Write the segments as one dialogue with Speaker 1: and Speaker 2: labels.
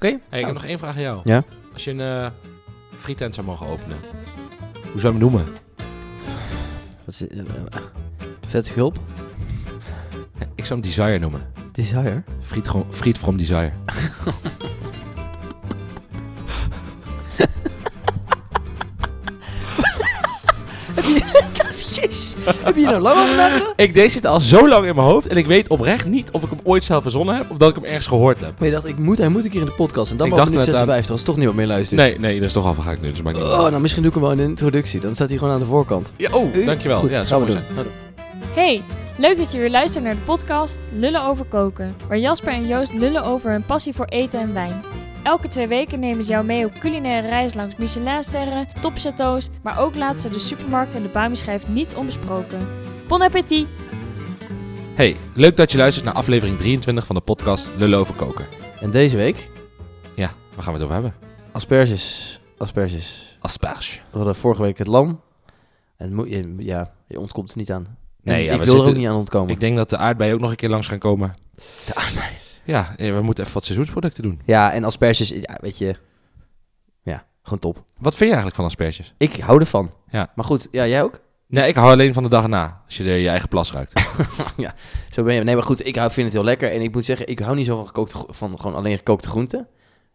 Speaker 1: Hey,
Speaker 2: Nou,
Speaker 1: ik heb nog één vraag aan jou.
Speaker 2: Ja?
Speaker 1: Als je een eh frietent zou mogen openen, hoe zou je hem noemen?
Speaker 2: Wat is, eh, eh, vet gulp.
Speaker 1: Ik zou hem Desire noemen.
Speaker 2: Desire.
Speaker 1: Friet, gro- friet from Desire.
Speaker 2: Jezus. Heb je hier nou lang over nagedacht?
Speaker 1: Ik deed dit al zo lang in mijn hoofd en ik weet oprecht niet of ik hem ooit zelf verzonnen heb of dat ik hem ergens gehoord heb.
Speaker 2: Maar je dacht, ik moet, hij moet een keer in de podcast. En dan
Speaker 1: Ik
Speaker 2: wordt
Speaker 1: dacht
Speaker 2: minuut
Speaker 1: net aan-
Speaker 2: 56 als toch niemand meer luistert.
Speaker 1: Nee, nee, dat is toch al van ga ik nu. Dus maakt niet uit.
Speaker 2: Oh, nou misschien doe ik hem wel in de introductie. Dan staat hij gewoon aan de voorkant.
Speaker 1: ja, oh, dankjewel.
Speaker 2: Goed,
Speaker 1: ja,
Speaker 2: gaan
Speaker 1: zou
Speaker 2: we
Speaker 1: mooi
Speaker 2: doen.
Speaker 1: zijn.
Speaker 3: Hey, leuk dat je weer luistert naar de podcast Lullen over koken, waar Jasper en Joost lullen over hun passie voor eten en wijn. Elke twee weken nemen ze jou mee op culinaire reis langs Michelinsterren, topchateaus, maar ook laatst ze de supermarkt en de Bami-schijf niet onbesproken. Bon appétit!
Speaker 1: Hey, leuk dat je luistert naar aflevering 23 van de podcast Lullen over koken.
Speaker 2: En deze week,
Speaker 1: Ja, waar gaan we het over hebben?
Speaker 2: asperges. Asperges.
Speaker 1: Asperge.
Speaker 2: We hadden vorige week het lam. En het moet, je- ja, je ontkomt er niet aan.
Speaker 1: Nee,
Speaker 2: En
Speaker 1: ja,
Speaker 2: ik
Speaker 1: we
Speaker 2: wil er ook
Speaker 1: zitten-
Speaker 2: niet aan ontkomen.
Speaker 1: Ik denk dat de aardbeien ook nog een keer langs gaan komen.
Speaker 2: De aardbeien.
Speaker 1: Ja, eh, we moeten even wat seizoensproducten doen.
Speaker 2: Ja, en asperges, ja, weet je... Ja, gewoon top.
Speaker 1: Wat vind je eigenlijk van asperges?
Speaker 2: Ik hou ervan.
Speaker 1: Ja.
Speaker 2: Maar goed, ja, jij ook?
Speaker 1: Nee, ik hou alleen van de dag erna, als je er je eigen plas ruikt.
Speaker 2: Zo ben je. Nee, maar goed, ik hou, vind het heel lekker. En ik moet zeggen, ik hou niet zo van, gekookte, gro- van gewoon alleen gekookte groenten.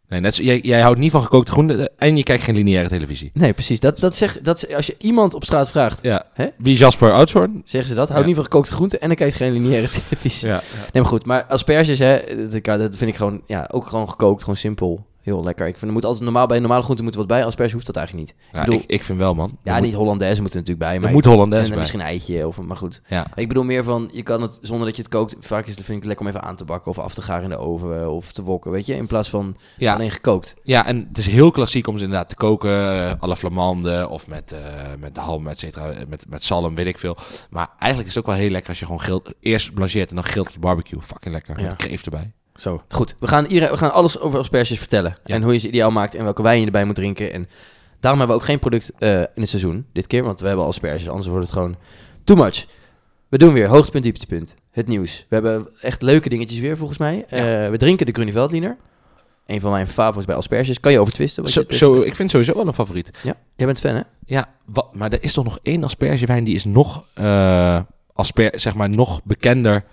Speaker 1: Nee, net zo, jij, jij houdt niet van gekookte groenten eh, en je kijkt geen lineaire televisie.
Speaker 2: Nee, precies. Dat, dat zeg, dat, is- als je iemand op straat vraagt,
Speaker 1: Ja.
Speaker 2: Hè?
Speaker 1: Wie is Jasper Oudshoorn?
Speaker 2: zeggen ze dat. Hou
Speaker 1: Ja.
Speaker 2: niet van gekookte groenten en dan kijkt geen lineaire televisie.
Speaker 1: Ja.
Speaker 2: Nee, maar goed. Maar asperges, hè, dat, dat vind ik gewoon, ja, ook gewoon gekookt. Gewoon simpel. Heel lekker. Ik vind, er moet altijd normaal bij normale groenten moet er wat bij. Asperges hoeft dat eigenlijk niet.
Speaker 1: Ja,
Speaker 2: Ik bedoel-
Speaker 1: ik, ik vind wel, man.
Speaker 2: Ja,
Speaker 1: Er
Speaker 2: niet Hollandaise moeten er natuurlijk bij.
Speaker 1: moet,
Speaker 2: Maar
Speaker 1: er moet
Speaker 2: en,
Speaker 1: Hollandaise
Speaker 2: dan
Speaker 1: bij.
Speaker 2: misschien een eitje of maar goed.
Speaker 1: Ja.
Speaker 2: Ik bedoel meer van, je kan het zonder dat je het kookt. Vaak is, vind ik het lekker om even aan te bakken of af te garen in de oven of te wokken, weet je. In plaats van
Speaker 1: Ja,
Speaker 2: alleen gekookt.
Speaker 1: ja, en het is heel klassiek om ze inderdaad te koken. eh, à la flamande of met, eh, met ham, et cetera. eh, Met, met zalm, weet ik veel. Maar eigenlijk is het ook wel heel lekker als je gewoon grilt, eerst blancheert en dan grilt op de barbecue. Fucking lekker.
Speaker 2: Ja.
Speaker 1: Met kreeft erbij.
Speaker 2: Zo. Goed, we gaan, iedereen, we gaan alles over asperges vertellen.
Speaker 1: Ja.
Speaker 2: En hoe je ze ideaal maakt en welke wijn je erbij moet drinken. En daarom hebben we ook geen product eh, in het seizoen dit keer, want we hebben al asperges, anders wordt het gewoon too much. We doen weer hoogtepunt, dieptepunt. Het nieuws. We hebben echt leuke dingetjes weer, volgens mij. Eh, we drinken de Grunewaldliner. Een van mijn favorieten bij asperges. Kan je over twisten? wat
Speaker 1: Zo,
Speaker 2: je het beste
Speaker 1: zo, ik vind het sowieso wel een favoriet.
Speaker 2: vindt? Ja, jij bent fan, hè?
Speaker 1: Ja, wat, maar er is toch nog één aspergewijn die is nog, eh, asper, zeg maar, nog bekender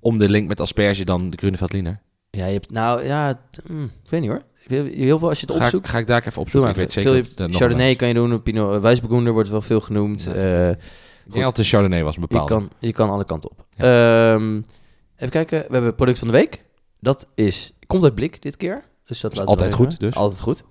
Speaker 1: om de link met asperge dan de Grunewaldliner.
Speaker 2: Ja, je hebt... Nou, ja... t- mm, ik weet niet, hoor. Heel- Heel veel als je het
Speaker 1: Ga,
Speaker 2: opzoekt...
Speaker 1: ik- ga ik daar even
Speaker 2: Doe
Speaker 1: opzoeken.
Speaker 2: maar
Speaker 1: Ik weet
Speaker 2: even.
Speaker 1: zeker
Speaker 2: Veel-
Speaker 1: dat er nog een-
Speaker 2: Chardonnay kan je doen. Pinot Wijsbegoender wordt wel veel genoemd.
Speaker 1: Ja.
Speaker 2: Eh,
Speaker 1: Ik denk dat de Chardonnay was
Speaker 2: Je
Speaker 1: bepaald.
Speaker 2: kan, je kan alle kanten op. Ehm, even kijken, we hebben product van de week. Dat is, komt uit Blik dit keer. Dus dat
Speaker 1: Is
Speaker 2: laten we
Speaker 1: altijd
Speaker 2: even-
Speaker 1: goed, dus.
Speaker 2: Altijd goed.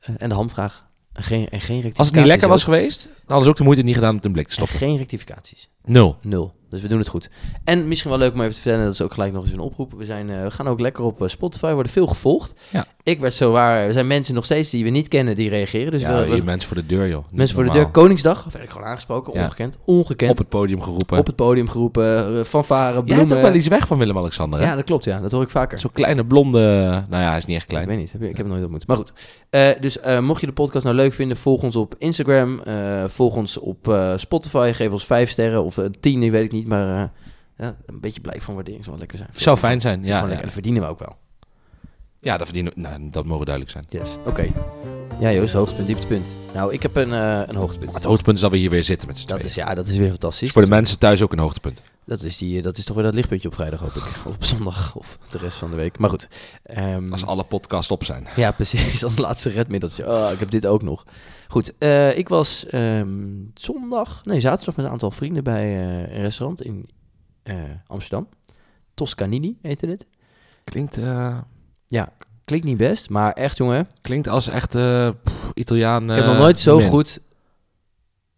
Speaker 2: Eh, en de hamvraag. En geen, en geen rectificaties.
Speaker 1: Als het niet lekker was
Speaker 2: ook.
Speaker 1: geweest, dan hadden ze ook de moeite niet gedaan om het in blik te
Speaker 2: En
Speaker 1: stoppen.
Speaker 2: geen rectificaties.
Speaker 1: Nul.
Speaker 2: Nul. Dus we doen het goed. En misschien wel leuk om even te vertellen, dat is ook gelijk nog eens een oproep. We, zijn, eh, we gaan ook lekker op eh, Spotify, worden veel gevolgd.
Speaker 1: Ja.
Speaker 2: Ik werd zo waar, er zijn mensen nog steeds die we niet kennen die reageren. Dus
Speaker 1: ja,
Speaker 2: we, we-
Speaker 1: hier mensen voor de deur, joh. Niet
Speaker 2: mensen voor de deur,
Speaker 1: normaal.
Speaker 2: Koningsdag, werd ik gewoon aangesproken,
Speaker 1: Ja.
Speaker 2: ongekend, ongekend.
Speaker 1: Op het podium geroepen.
Speaker 2: Op het podium geroepen, eh, fanfare,
Speaker 1: Je
Speaker 2: bloemen.
Speaker 1: hebt ook wel iets weg van Willem-Alexander, hè?
Speaker 2: Ja, dat klopt, ja. Dat hoor ik vaker.
Speaker 1: Zo'n kleine blonde... Nou ja, hij is niet echt
Speaker 2: Ik
Speaker 1: klein.
Speaker 2: weet niet, heb je- ik heb hem nooit ontmoet. Maar goed, Eh, dus eh, mocht je de podcast nou leuk vinden, volg ons op Instagram, eh, volg ons op eh, Spotify, geef ons vijf sterren of eh, tien, die weet ik niet, maar eh, ja, een beetje blijk van waardering zou wel lekker zijn.
Speaker 1: Zou fijn zijn, ja.
Speaker 2: Gewoon
Speaker 1: Ja,
Speaker 2: lekker, dat verdienen we ook wel.
Speaker 1: Ja, dat verdienen... Nou, dat mogen duidelijk zijn.
Speaker 2: Yes. Oké. Ja Joost, hoogtepunt, dieptepunt. Nou, ik heb een, eh, een hoogtepunt.
Speaker 1: Het hoogtepunt is dat we hier weer zitten met z'n
Speaker 2: dat
Speaker 1: tweeën.
Speaker 2: is, ja, dat is weer fantastisch.
Speaker 1: is voor de mensen thuis ook een hoogtepunt.
Speaker 2: dat, is die, eh, dat is toch weer dat lichtpuntje op vrijdag, hoop ik. Of op zondag, of de rest van de week. Maar goed. ehm,
Speaker 1: Als alle podcasts op zijn.
Speaker 2: Ja, precies. Dat laatste redmiddeltje. Oh, ik heb dit ook nog. Goed, eh, ik was ehm, zondag, nee, zaterdag met een aantal vrienden bij eh, een restaurant in eh, Amsterdam. Toscanini heette dit.
Speaker 1: Klinkt, eh,
Speaker 2: Klinkt niet best, maar echt jongen.
Speaker 1: klinkt als echt eh, pff, Italiaan...
Speaker 2: ik heb
Speaker 1: eh,
Speaker 2: nog nooit zo
Speaker 1: min.
Speaker 2: goed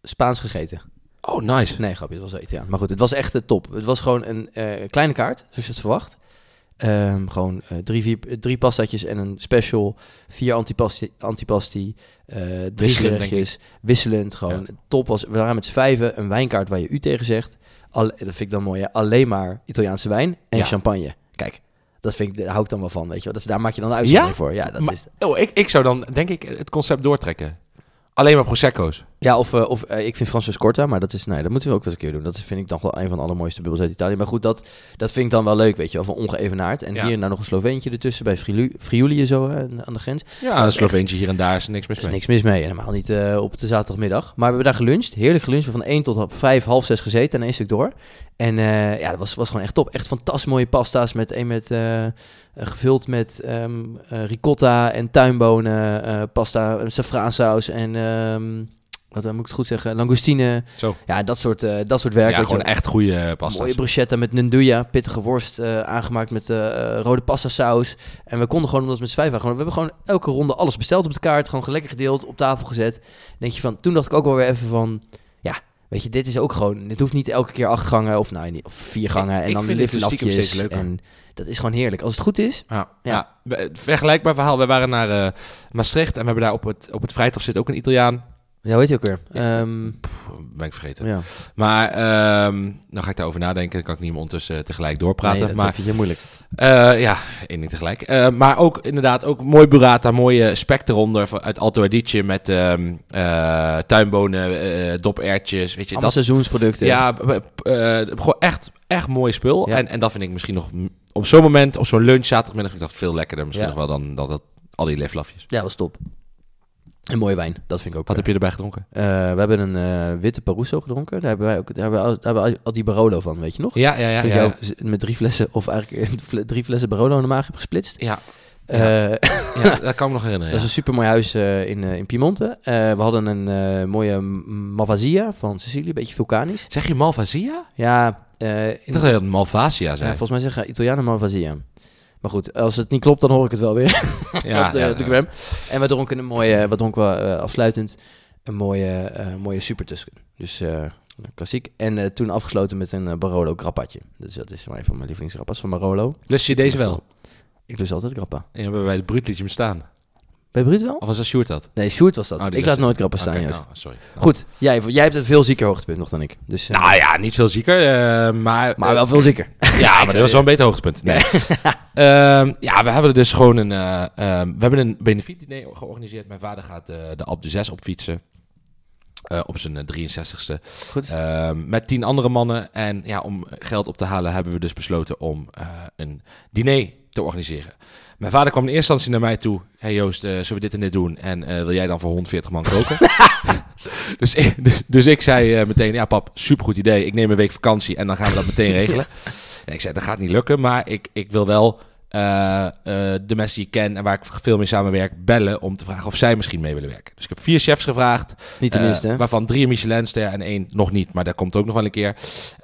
Speaker 2: Spaans gegeten.
Speaker 1: Oh, nice.
Speaker 2: Nee, grapje, het was wel Italiaans. Maar goed, het was echt de top. Het was gewoon een eh, kleine kaart, zoals je het verwacht. Ehm, gewoon eh, drie, vier, eh, drie pastatjes en een special. Vier antipasti, antipasti eh, drie
Speaker 1: Wisselend, denk
Speaker 2: gerechtjes. Wisselend, gewoon top. Was, we waren met z'n vijven, een wijnkaart waar je u tegen zegt. Al, dat vind ik dan mooi, hè. alleen maar Italiaanse wijn en
Speaker 1: Ja.
Speaker 2: champagne. Kijk, dat vind ik, daar hou ik dan wel van, weet je wel. Dat, is- daar maak je dan een uitzondering voor. Ja, dat
Speaker 1: Maar-
Speaker 2: is,
Speaker 1: Oh, ik, ik zou dan, denk ik, het concept doortrekken. Alleen maar Prosecco's.
Speaker 2: Ja, of, eh, of eh, ik vind Francis Corta, maar dat is, nee, dat moeten we ook wel eens een keer doen. Dat vind ik dan wel een van de allermooiste bubbels uit Italië. Maar goed, dat, dat vind ik dan wel leuk, weet je wel, van ongeëvenaard. En
Speaker 1: Ja.
Speaker 2: hier nou nog een Sloveentje ertussen, bij Friuli, Friuli zo hè, aan de grens.
Speaker 1: Ja, een Sloveentje hier en daar is er niks mis
Speaker 2: Er is
Speaker 1: mee.
Speaker 2: niks mis mee, helemaal niet eh, op de zaterdagmiddag. Maar we hebben daar geluncht, heerlijk geluncht. We Van 1 tot half 5, half 6 gezeten en één stuk door. En eh, ja, dat was, was gewoon echt top. Echt fantastisch mooie pasta's. Met, een met, eh, eh, gevuld met ehm, eh, ricotta en tuinbonen, eh, pasta, eh, saffraansaus en... ehm, wat eh, moet ik het goed zeggen? Langoustine.
Speaker 1: Zo.
Speaker 2: Ja, dat soort, eh, dat soort werk.
Speaker 1: ja,
Speaker 2: weet je
Speaker 1: gewoon
Speaker 2: wel.
Speaker 1: echt goede eh, pasta's.
Speaker 2: Mooie bruschetta met nanduja, pittige worst, eh, aangemaakt met eh, eh, rode pastasaus. En we konden gewoon, omdat we met z'n vijf waren, gewoon, we hebben gewoon elke ronde alles besteld op de kaart. Gewoon lekker gedeeld, op tafel gezet. Dan Denk je van, toen dacht ik ook wel weer even van, ja, weet je, dit is ook gewoon, dit hoeft niet elke keer acht gangen of, nou, niet- of vier gangen. En
Speaker 1: ik
Speaker 2: dan
Speaker 1: vind dit dus
Speaker 2: liflafjes
Speaker 1: stiekem steeds leuker.
Speaker 2: En dat is gewoon heerlijk. Als het goed is,
Speaker 1: Ja.
Speaker 2: Ja.
Speaker 1: ja. We- Vergelijkbaar verhaal. Wij waren naar eh, Maastricht en we hebben daar op het, op het Vrijthof zit ook een Italiaan.
Speaker 2: ja, weet je ook weer. Ehm,
Speaker 1: Pff, ben ik vergeten.
Speaker 2: ja,
Speaker 1: Maar ehm dan ga ik daarover nadenken. Dan kan ik niet meer ondertussen eh, tegelijk doorpraten.
Speaker 2: Nee, dat
Speaker 1: maar
Speaker 2: vind je moeilijk.
Speaker 1: eh, ja, één ding tegelijk. Eh, maar ook inderdaad, ook mooi burrata, mooie spek eronder van- uit Alto Adige met ehm, eh, tuinbonen, eh dopertjes. Weet je,
Speaker 2: Allemaal
Speaker 1: dat
Speaker 2: seizoensproducten.
Speaker 1: Ja, b- b- eh, gewoon echt, echt mooi spul.
Speaker 2: Ja.
Speaker 1: En, en dat vind ik misschien nog m- op zo'n moment, op zo'n lunch zaterdagmiddag, vind ik dat veel lekkerder misschien
Speaker 2: Ja.
Speaker 1: nog wel dan dat, dat- al die leflafjes.
Speaker 2: ja, was top. En mooie wijn, dat vind ik ook.
Speaker 1: Wat
Speaker 2: eh,
Speaker 1: heb je erbij gedronken?
Speaker 2: Eh, we hebben een eh, witte Paruso gedronken. Daar hebben wij ook, daar hebben we al, daar hebben we al die Barolo van, weet je nog?
Speaker 1: Ja, ja, ja.
Speaker 2: Toen ik
Speaker 1: ja,
Speaker 2: jou z- met drie flessen, of eigenlijk eh, fle- drie flessen Barolo in de maag heb gesplitst.
Speaker 1: ja,
Speaker 2: Eh,
Speaker 1: ja, dat kan ik me nog
Speaker 2: Dat
Speaker 1: herinneren.
Speaker 2: is
Speaker 1: ja.
Speaker 2: een supermooi huis eh, in, eh, in Piemonte. Eh, we hadden een eh, mooie Malvasia van Sicilië, een beetje vulkanisch.
Speaker 1: Zeg je Malvasia?
Speaker 2: Ja, eh, in-
Speaker 1: Ik dacht dat je dat Malvasia
Speaker 2: ja,
Speaker 1: zei.
Speaker 2: volgens mij zeggen Italianen Malvasia. Maar goed, als het niet klopt, dan hoor ik het wel weer.
Speaker 1: Ja,
Speaker 2: op de,
Speaker 1: ja,
Speaker 2: op de
Speaker 1: ja.
Speaker 2: gram. En we dronken een mooie, we dronken eh, afsluitend een mooie, eh, mooie Super Tusken. Dus eh, klassiek. En eh, toen afgesloten met een eh, Barolo grappatje. Dus dat is een van mijn lievelingsgrappas van Barolo.
Speaker 1: Lust je deze wel?
Speaker 2: Ik lust altijd grappa.
Speaker 1: En hebben we bij het bruutliedje bestaan.
Speaker 2: Bij Bruut wel?
Speaker 1: Of was dat Sjoerd dat?
Speaker 2: Nee, Sjoerd was dat.
Speaker 1: Oh, die
Speaker 2: ik
Speaker 1: lust
Speaker 2: laat
Speaker 1: ik.
Speaker 2: nooit grappa staan,
Speaker 1: Oké,
Speaker 2: juist.
Speaker 1: nou, sorry. Nou.
Speaker 2: Goed, jij, jij hebt een veel zieker hoogtepunt nog dan ik. Dus, eh,
Speaker 1: Nou ja, niet veel zieker, eh, maar...
Speaker 2: maar wel veel zieker.
Speaker 1: Ja, maar dat was wel een beter hoogtepunt. Nee. Ehm, ja, we hebben dus gewoon een... eh, ehm, we hebben een benefietdiner georganiseerd. Mijn vader gaat eh, de Alp de 6 op fietsen. eh, op zijn eh, 63ste.
Speaker 2: Goed.
Speaker 1: Ehm, met tien andere mannen. En ja, om geld op te halen hebben we dus besloten om eh, een diner te organiseren. Mijn vader kwam in eerste instantie naar mij toe. hey Joost, eh, zullen we dit en dit doen? En eh, wil jij dan voor 140 man koken? dus, ik- dus, dus ik zei eh, meteen, ja pap, supergoed idee. Ik neem een week vakantie en dan gaan we dat meteen regelen. En ik zei, dat gaat niet lukken, maar ik, ik wil wel eh, eh, de mensen die ik ken en waar ik veel mee samenwerk bellen om te vragen of zij misschien mee willen werken. Dus ik heb vier chefs gevraagd.
Speaker 2: Niet de minste,
Speaker 1: Eh,
Speaker 2: hè?
Speaker 1: Waarvan drie een Michelinster en één nog niet, maar dat komt ook nog wel een keer.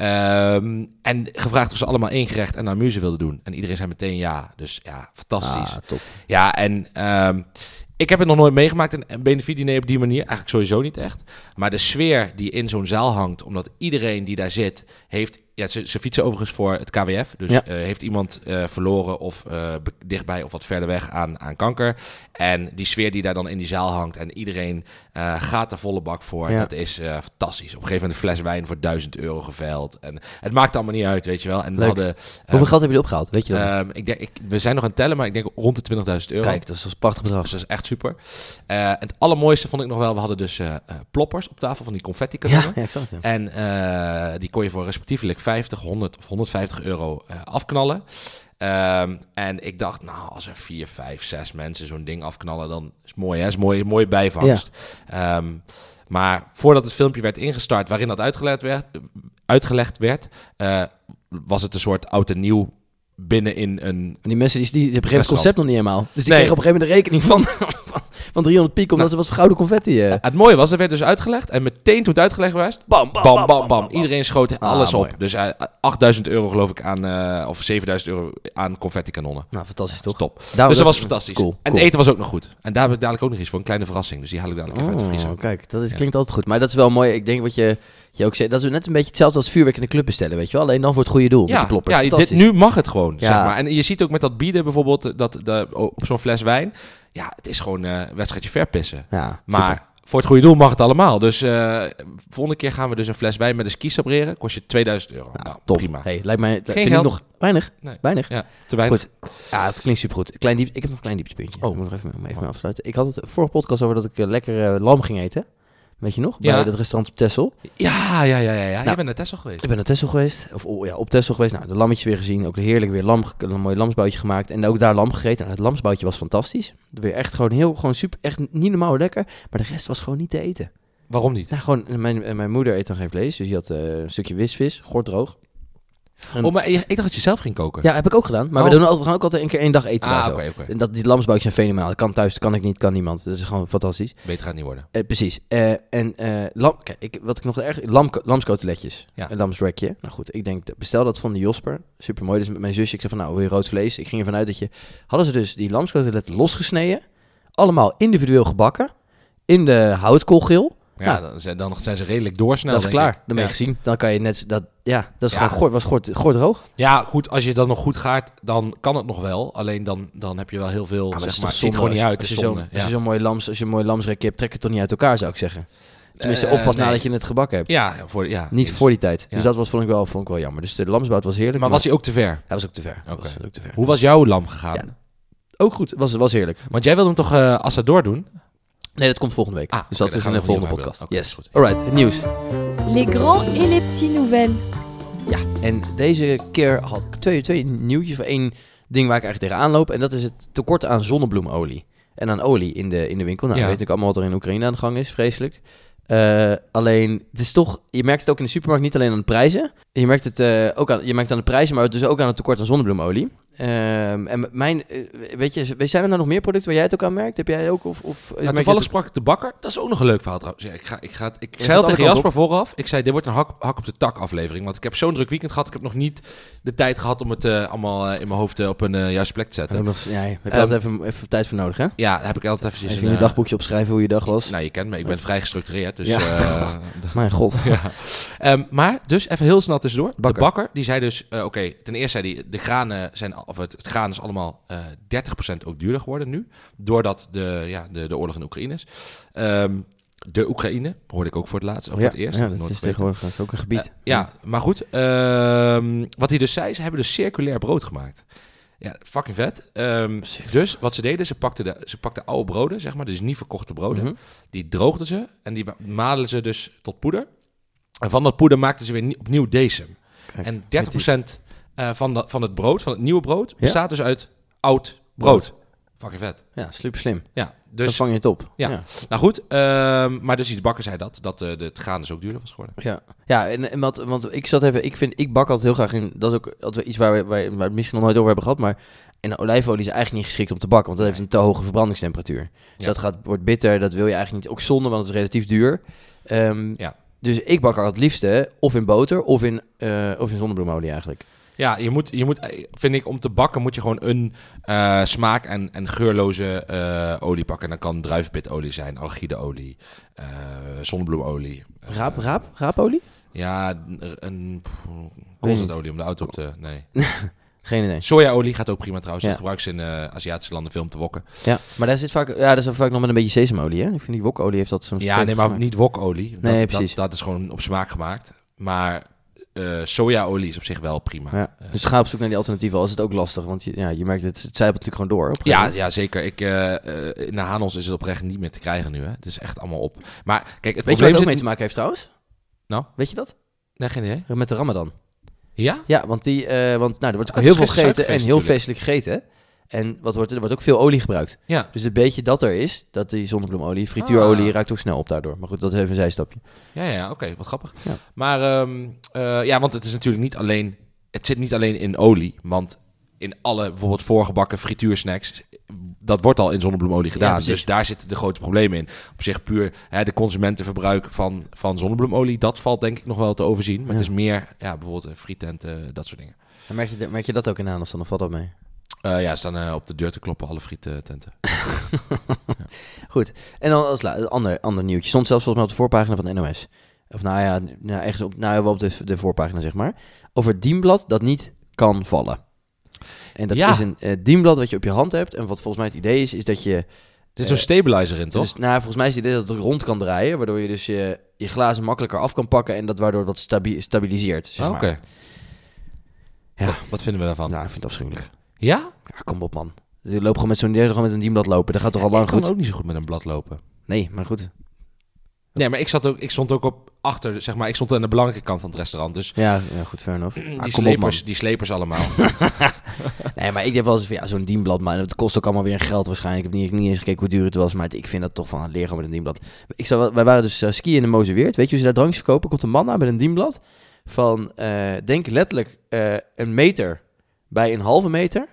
Speaker 1: Ehm, en gevraagd of ze allemaal één gerecht en een amuse wilden doen. En iedereen zei meteen ja. Dus ja, fantastisch.
Speaker 2: Ah, top.
Speaker 1: Ja, en ehm, ik heb het nog nooit meegemaakt, een- een benefietdiner op die manier. Eigenlijk sowieso niet echt. Maar de sfeer die in zo'n zaal hangt, omdat iedereen die daar zit, heeft... Ja, ze, ze fietsen overigens voor het KWF. Dus
Speaker 2: Ja.
Speaker 1: eh, heeft iemand eh, verloren of eh, be- dichtbij of wat verder weg aan, aan kanker. En die sfeer die daar dan in die zaal hangt en iedereen eh, gaat er volle bak voor.
Speaker 2: Ja.
Speaker 1: Dat is eh, fantastisch. Op een gegeven moment een fles wijn voor 1000 euro geveild. En het maakt allemaal niet uit, weet je wel. En we
Speaker 2: Leuk.
Speaker 1: hadden...
Speaker 2: Hoeveel
Speaker 1: ehm,
Speaker 2: geld heb je opgehaald? Weet je dat?
Speaker 1: ehm, ik denk, ik, we zijn nog aan het tellen, maar ik denk rond de 20.000 euro.
Speaker 2: Kijk, dat is een prachtig bedrag.
Speaker 1: Dus dat is echt super. Eh, en het allermooiste vond ik nog wel, we hadden dus eh, eh, ploppers op tafel van die confetti kanonnen.
Speaker 2: ik zag het, ja.
Speaker 1: En eh, die kon je voor respectievelijk 50, 100 of 150 euro eh, afknallen. Ehm, en ik dacht, nou, als er 4, 5, 6 mensen zo'n ding afknallen, dan is het mooi, hè? Is mooi, mooie bijvangst. Ehm, maar voordat het filmpje werd ingestart, waarin dat uitgelegd werd, uitgelegd werd eh, was het een soort oud en nieuw binnen in een
Speaker 2: En die mensen die, die hebben het
Speaker 1: Restaurant.
Speaker 2: concept nog niet helemaal. Dus die
Speaker 1: Nee. Nou.
Speaker 2: kregen op een gegeven moment de rekening van, van, van 300 piek, omdat ze wat gouden confetti... eh
Speaker 1: Het mooie was, dat werd dus uitgelegd. En meteen toen het uitgelegd was,
Speaker 2: bam,
Speaker 1: bam, bam, bam. Iedereen schoot alles
Speaker 2: mooi.
Speaker 1: op. Dus eh, 8000 euro geloof ik aan, eh, of 7000 euro aan confetti kanonnen.
Speaker 2: Nou, fantastisch toch?
Speaker 1: Top.
Speaker 2: Daarom
Speaker 1: dus dat was fantastisch.
Speaker 2: Cool,
Speaker 1: en
Speaker 2: cool.
Speaker 1: het eten was ook nog goed. En daar heb ik dadelijk ook nog iets voor. Een kleine verrassing. Dus die haal ik dadelijk even uit de vriezer.
Speaker 2: Oh, kijk, dat is,
Speaker 1: Ja.
Speaker 2: klinkt altijd goed. Maar dat is wel mooi. Ik denk wat je, je ook zei, dat is net een beetje hetzelfde als vuurwerk in de club bestellen, weet je wel? Alleen dan voor het goede doel, met die
Speaker 1: Ja,
Speaker 2: ploppers.
Speaker 1: ja dit,
Speaker 2: Fantastisch.
Speaker 1: nu mag het gewoon,
Speaker 2: Ja.
Speaker 1: zeg maar. En je ziet ook met dat bieden bijvoorbeeld, eh, dat, de, op zo'n fles wijn. Ja, het is gewoon eh, een wedstrijdje verpissen.
Speaker 2: Ja,
Speaker 1: Maar
Speaker 2: super.
Speaker 1: voor het goede doel mag het allemaal. Dus eh volgende keer gaan we dus een fles wijn met een ski sabreren. Kost je 2000 euro.
Speaker 2: Nou,
Speaker 1: nou,
Speaker 2: top.
Speaker 1: prima.
Speaker 2: Hey, lijkt mij, vind
Speaker 1: geld.
Speaker 2: ik nog weinig,
Speaker 1: Nee.
Speaker 2: weinig.
Speaker 1: Ja, te weinig.
Speaker 2: Goed. Ja, het klinkt supergoed. Klein diep, ik heb nog een klein dieptepuntje.
Speaker 1: Oh.
Speaker 2: Oh, ik moet nog even, even mee
Speaker 1: Wat?
Speaker 2: afsluiten. Ik had het vorige podcast over dat ik eh, lekker eh, lam ging eten. Weet je nog?
Speaker 1: Ja.
Speaker 2: Bij dat restaurant op Texel.
Speaker 1: Ja, ja, ja, ja. ja. Jij
Speaker 2: Nou.
Speaker 1: bent naar Texel geweest.
Speaker 2: Ik ben naar Texel geweest. Of oh, ja, op Texel geweest. Nou, de lammetjes weer gezien. Ook heerlijk weer lam, ge- een mooi lamsboutje gemaakt. En ook daar lam gegeten. Nou, het lamsboutje was fantastisch. Weer echt gewoon heel, gewoon super, echt niet normaal lekker. Maar de rest was gewoon niet te eten.
Speaker 1: Waarom niet?
Speaker 2: Nou, gewoon, mijn, eh, mijn moeder eet dan geen vlees, dus die had eh, een stukje wisvis, gordroog. En-
Speaker 1: Oh, maar je- ik dacht dat je zelf ging koken.
Speaker 2: Ehm, Ja, heb ik ook gedaan. Maar
Speaker 1: Oh.
Speaker 2: we, doen al, we gaan ook altijd een keer één dag eten. daar
Speaker 1: Ah,
Speaker 2: zo.
Speaker 1: oké, oké.
Speaker 2: En dat, die lamsboutjes zijn fenomenaal. Dat kan thuis, dat kan ik niet, kan niemand. Dat is gewoon fantastisch.
Speaker 1: Beter gaat het niet worden.
Speaker 2: Eh, precies. Eh, en eh, lam, kijk, ik, wat ik nog erg... Lam, lamskoteletjes.
Speaker 1: Ja.
Speaker 2: Een lamsrekje. Nou goed, ik denk, bestel dat van de Josper. Supermooi. Dus met mijn zusje, ik zei van, nou, wil je rood vlees? Ik ging ervan uit dat je... Hadden ze dus die lamskoteletten losgesneden. Allemaal individueel gebakken. In de houtkoolgeel.
Speaker 1: Ja,
Speaker 2: Nou.
Speaker 1: dan, zijn, dan zijn ze redelijk doorsnel.
Speaker 2: dat is
Speaker 1: denk ik.
Speaker 2: klaar. Dan ben je
Speaker 1: Ja.
Speaker 2: gezien. Dan kan je net... Dat, ja, dat is
Speaker 1: Ja. Ah,
Speaker 2: gewoon goor, was goor, goor droog.
Speaker 1: Ja, goed, als je dat nog goed gaat, dan kan het nog wel. Alleen dan, dan heb je wel heel veel, zeg maar, het ziet er gewoon niet uit.
Speaker 2: Als
Speaker 1: Het
Speaker 2: je
Speaker 1: is
Speaker 2: zo'n
Speaker 1: zonde.
Speaker 2: als
Speaker 1: ja.
Speaker 2: je zo'n mooi lams, als je een mooi lamsrek hebt, trek het toch niet uit elkaar, zou ik zeggen. Tenminste,
Speaker 1: Eh,
Speaker 2: of pas
Speaker 1: nee.
Speaker 2: nadat je het gebakken hebt.
Speaker 1: Ja, voor, ja,
Speaker 2: Niet
Speaker 1: eens.
Speaker 2: voor die tijd.
Speaker 1: Ja.
Speaker 2: Dus dat was, vond, ik wel, vond ik wel jammer. Dus de lamsbout was heerlijk.
Speaker 1: Maar was hij ook te ver?
Speaker 2: Hij was ook te ver. Hij
Speaker 1: Oké.
Speaker 2: was ook te ver.
Speaker 1: Hoe was jouw lam gegaan?
Speaker 2: Ja. Ook goed. Was, was heerlijk.
Speaker 1: Want jij wilde hem toch eh Assador doen?
Speaker 2: Nee, dat komt volgende week.
Speaker 1: Ah,
Speaker 2: dus dat
Speaker 1: oké, dan
Speaker 2: is
Speaker 1: gaan
Speaker 2: in
Speaker 1: we
Speaker 2: de
Speaker 1: opnieuw
Speaker 2: volgende podcast.
Speaker 1: hebben. Oké,
Speaker 2: yes.
Speaker 1: is goed.
Speaker 2: Alright, het nieuws.
Speaker 3: Les grands et les petits nouvelles.
Speaker 2: Ja, en deze keer had ik twee, twee nieuwtjes van één ding waar ik eigenlijk tegenaan loop. En dat is het tekort aan zonnebloemolie. En aan olie in de, in de winkel. Nou,
Speaker 1: Ja.
Speaker 2: weet ik allemaal wat er in Oekraïne aan de gang is. Vreselijk. Eh, alleen, het is toch, je merkt het ook in de supermarkt niet alleen aan de prijzen. Je merkt het eh, ook aan, je merkt het aan de prijzen, maar dus ook aan het tekort aan zonnebloemolie. Ehm, en mijn, eh, weet je, zijn er nou nog meer producten waar jij het ook aan merkt? Heb jij ook? Of, of, merk je
Speaker 1: Nou,
Speaker 2: het
Speaker 1: toevallig
Speaker 2: ook-
Speaker 1: sprak ik de bakker. Dat is ook nog een leuk verhaal trouwens. Ja, ik, ga, ik, ga, het- ik
Speaker 2: Ja, gaat
Speaker 1: zei al
Speaker 2: alle
Speaker 1: tegen
Speaker 2: kanten
Speaker 1: Jasper vooraf. Ik zei, dit wordt een hak, hak op de tak aflevering. Want ik heb zo'n druk weekend gehad. Ik heb nog niet de tijd gehad om het eh, allemaal eh, in mijn hoofd eh, op een eh, juiste plek te zetten.
Speaker 2: Ja, heb je
Speaker 1: Ehm,
Speaker 2: altijd even, even tijd voor nodig, hè?
Speaker 1: Ja, daar heb ik altijd eventjes
Speaker 2: Even in je
Speaker 1: eh,
Speaker 2: dagboekje opschrijven hoe je dag was.
Speaker 1: Nou, je kent me. Ik ben vrij gestructureerd. Dus,
Speaker 2: Ja.
Speaker 1: eh,
Speaker 2: Mijn god.
Speaker 1: ja. Ehm, maar, dus even heel snel tussendoor.
Speaker 2: Bakker.
Speaker 1: De bakker, die zei dus... eh, Oké, ten eerste zei hij... De granen zijn... al- Of het, het graan is allemaal eh 30% ook duurder geworden nu. Doordat de, ja, de, de oorlog in Oekraïne is. Ehm, de Oekraïne, hoorde ik ook voor het laatst. Of
Speaker 2: ja,
Speaker 1: voor het eerst.
Speaker 2: Ja,
Speaker 1: had ik
Speaker 2: dat
Speaker 1: nooit
Speaker 2: is
Speaker 1: geweten.
Speaker 2: tegenwoordig dat is ook een gebied.
Speaker 1: Eh, ja, maar goed. ehm, wat hij dus zei, ze hebben dus circulair brood gemaakt. Ja, fucking vet. Ehm, dus wat ze deden, ze pakten, de, ze pakten oude broden, zeg maar, dus niet verkochte broden.
Speaker 2: Mhm.
Speaker 1: Die droogden ze en die malen ze dus tot poeder. En van dat poeder maakten ze weer nie- opnieuw decem.
Speaker 2: Kijk,
Speaker 1: en 30% eh, van, dat van het brood, van het nieuwe brood, bestaat dus uit oud brood.
Speaker 2: Brood.
Speaker 1: Fucking vet.
Speaker 2: Ja, super slim.
Speaker 1: Ja,
Speaker 2: Dus dan
Speaker 1: dus,
Speaker 2: vang je het op.
Speaker 1: Ja.
Speaker 2: ja.
Speaker 1: nou goed. ehm, maar dus die bakker zei dat, dat eh, de- het gaan dus ook duurder was geworden.
Speaker 2: Ja. Ja, en, en wat, want ik zat even, ik vind, ik bak altijd heel graag in, dat is ook altijd iets waar we, waar, waar we het misschien nog nooit over hebben gehad, maar en olijfolie is eigenlijk niet geschikt om te bakken, want dat heeft een te hoge verbrandingstemperatuur.
Speaker 1: Ja.
Speaker 2: Dus dat gaat, wordt bitter, dat wil je eigenlijk niet. Ook zonde, want het is relatief duur. Ehm,
Speaker 1: Ja.
Speaker 2: Dus ik bak altijd het liefste of in boter of in, eh, of in zonnebloemolie eigenlijk.
Speaker 1: Ja, je moet, je moet, eh, vind ik, om te bakken moet je gewoon een eh, smaak- en, en geurloze eh, olie pakken. En dat kan druifpitolie zijn, archideolie, eh zonnebloemolie. eh,
Speaker 2: Raap, raap, raapolie?
Speaker 1: Ja, een- een pff, koolzetolie om de auto op te... Nee.
Speaker 2: Geen idee.
Speaker 1: Sojaolie gaat ook prima trouwens.
Speaker 2: Ja.
Speaker 1: Dat gebruiken ze in eh, Aziatische landen veel om te wokken.
Speaker 2: Ja, maar daar zit vaak, ja, daar zit vaak nog met een beetje sesamolie, hè? Ik vind die wokolie heeft dat zo'n
Speaker 1: Ja, nee, maar niet wokolie. Dat,
Speaker 2: Nee,
Speaker 1: dat-
Speaker 2: precies.
Speaker 1: Dat, is gewoon op smaak gemaakt. Maar eh, sojaolie is op zich wel prima.
Speaker 2: Ja. Dus ga op zoek naar die alternatieven, al is het ook lastig. Want je, ja, je merkt, het, het zijpelt natuurlijk gewoon door. op een gegeven
Speaker 1: Ja,
Speaker 2: moment.
Speaker 1: ja, zeker. Ik, eh, eh, in de Hanos is het oprecht niet meer te krijgen nu. Hè. Het is echt allemaal op. Maar kijk, het
Speaker 2: Weet je
Speaker 1: probleem
Speaker 2: wat het ook
Speaker 1: zit
Speaker 2: mee te maken heeft trouwens?
Speaker 1: Nou?
Speaker 2: Weet je dat?
Speaker 1: Nee, geen idee.
Speaker 2: Met de ramadan.
Speaker 1: Ja?
Speaker 2: Ja, want, die, eh, want nou, er wordt
Speaker 1: Ah,
Speaker 2: ook
Speaker 1: het
Speaker 2: heel
Speaker 1: is
Speaker 2: veel
Speaker 1: gisteren
Speaker 2: gegeten en heel
Speaker 1: natuurlijk.
Speaker 2: feestelijk gegeten. hè? En wat wordt, er er wordt ook veel olie gebruikt.
Speaker 1: Ja.
Speaker 2: Dus het beetje dat er is, dat die zonnebloemolie, frituurolie,
Speaker 1: Ah.
Speaker 2: raakt ook snel op daardoor. Maar goed, dat is even een zijstapje.
Speaker 1: Ja, ja, oké, wat grappig.
Speaker 2: Ja.
Speaker 1: Maar ehm, eh, ja, want het is natuurlijk niet alleen. Het zit niet alleen in olie, want in alle bijvoorbeeld voorgebakken frituursnacks, dat wordt al in zonnebloemolie gedaan.
Speaker 2: precies.
Speaker 1: dus daar zitten de grote problemen in. Op zich puur hè, de consumentenverbruik van, van zonnebloemolie, dat valt denk ik nog wel te overzien. Maar het
Speaker 2: Ja.
Speaker 1: is meer, ja, bijvoorbeeld eh, frietenten, dat soort dingen.
Speaker 2: En merk je, merk je dat ook in Hanos dan, of valt dat mee?
Speaker 1: Eh, ja, ze staan eh, op de deur te kloppen, alle frietenten.
Speaker 2: En dan als la- een ander, ander nieuwtje. Stond zelfs volgens mij op de voorpagina van de NOS. Of nou ja, nou, ergens op, nou ja, wel op de, de voorpagina, zeg maar. Over het dienblad dat niet kan vallen. En dat
Speaker 1: Ja.
Speaker 2: is een eh, dienblad wat je op je hand hebt. En wat volgens mij het idee is, is dat je...
Speaker 1: Er zit zo'n stabilizer in, toch? Ah,
Speaker 2: Dus, nou, volgens mij is het idee dat het rond kan draaien. Waardoor je dus je, je glazen makkelijker af kan pakken. En dat waardoor wat stabi- stabiliseert, zeg
Speaker 1: Ah,
Speaker 2: maar.
Speaker 1: Oké.
Speaker 2: Ja.
Speaker 1: Wat, wat vinden we daarvan?
Speaker 2: Nou, ik vind het afschuwelijk.
Speaker 1: Ja?
Speaker 2: Ja, kom op, man. Je loopt gewoon met zo'n je zou gewoon met een dienblad lopen. Dat gaat toch al lang
Speaker 1: ik kan
Speaker 2: goed?
Speaker 1: ook niet zo goed met een blad lopen.
Speaker 2: Nee, maar goed.
Speaker 1: Nee, maar ik, zat ook, ik stond ook op achter, zeg maar. Ik stond aan de belangrijke kant van het restaurant. Dus
Speaker 2: Ja, ja goed, fair enough.
Speaker 1: die,
Speaker 2: Ah, kom op, man.
Speaker 1: slepers, die slepers allemaal.
Speaker 2: Nee, maar ik heb wel eens van, ja, zo'n dienblad, maar dat kost ook allemaal weer geld waarschijnlijk. Ik heb niet, niet eens gekeken hoe duur het was, maar het- ik vind dat toch van het leren met een dienblad. Ik zou, wel- wij waren dus eh, skiën in de Mozenweert. Weet je hoe ze daar drankjes verkopen? Komt een man aan met een dienblad van, eh, denk letterlijk, eh, een meter bij een halve meter.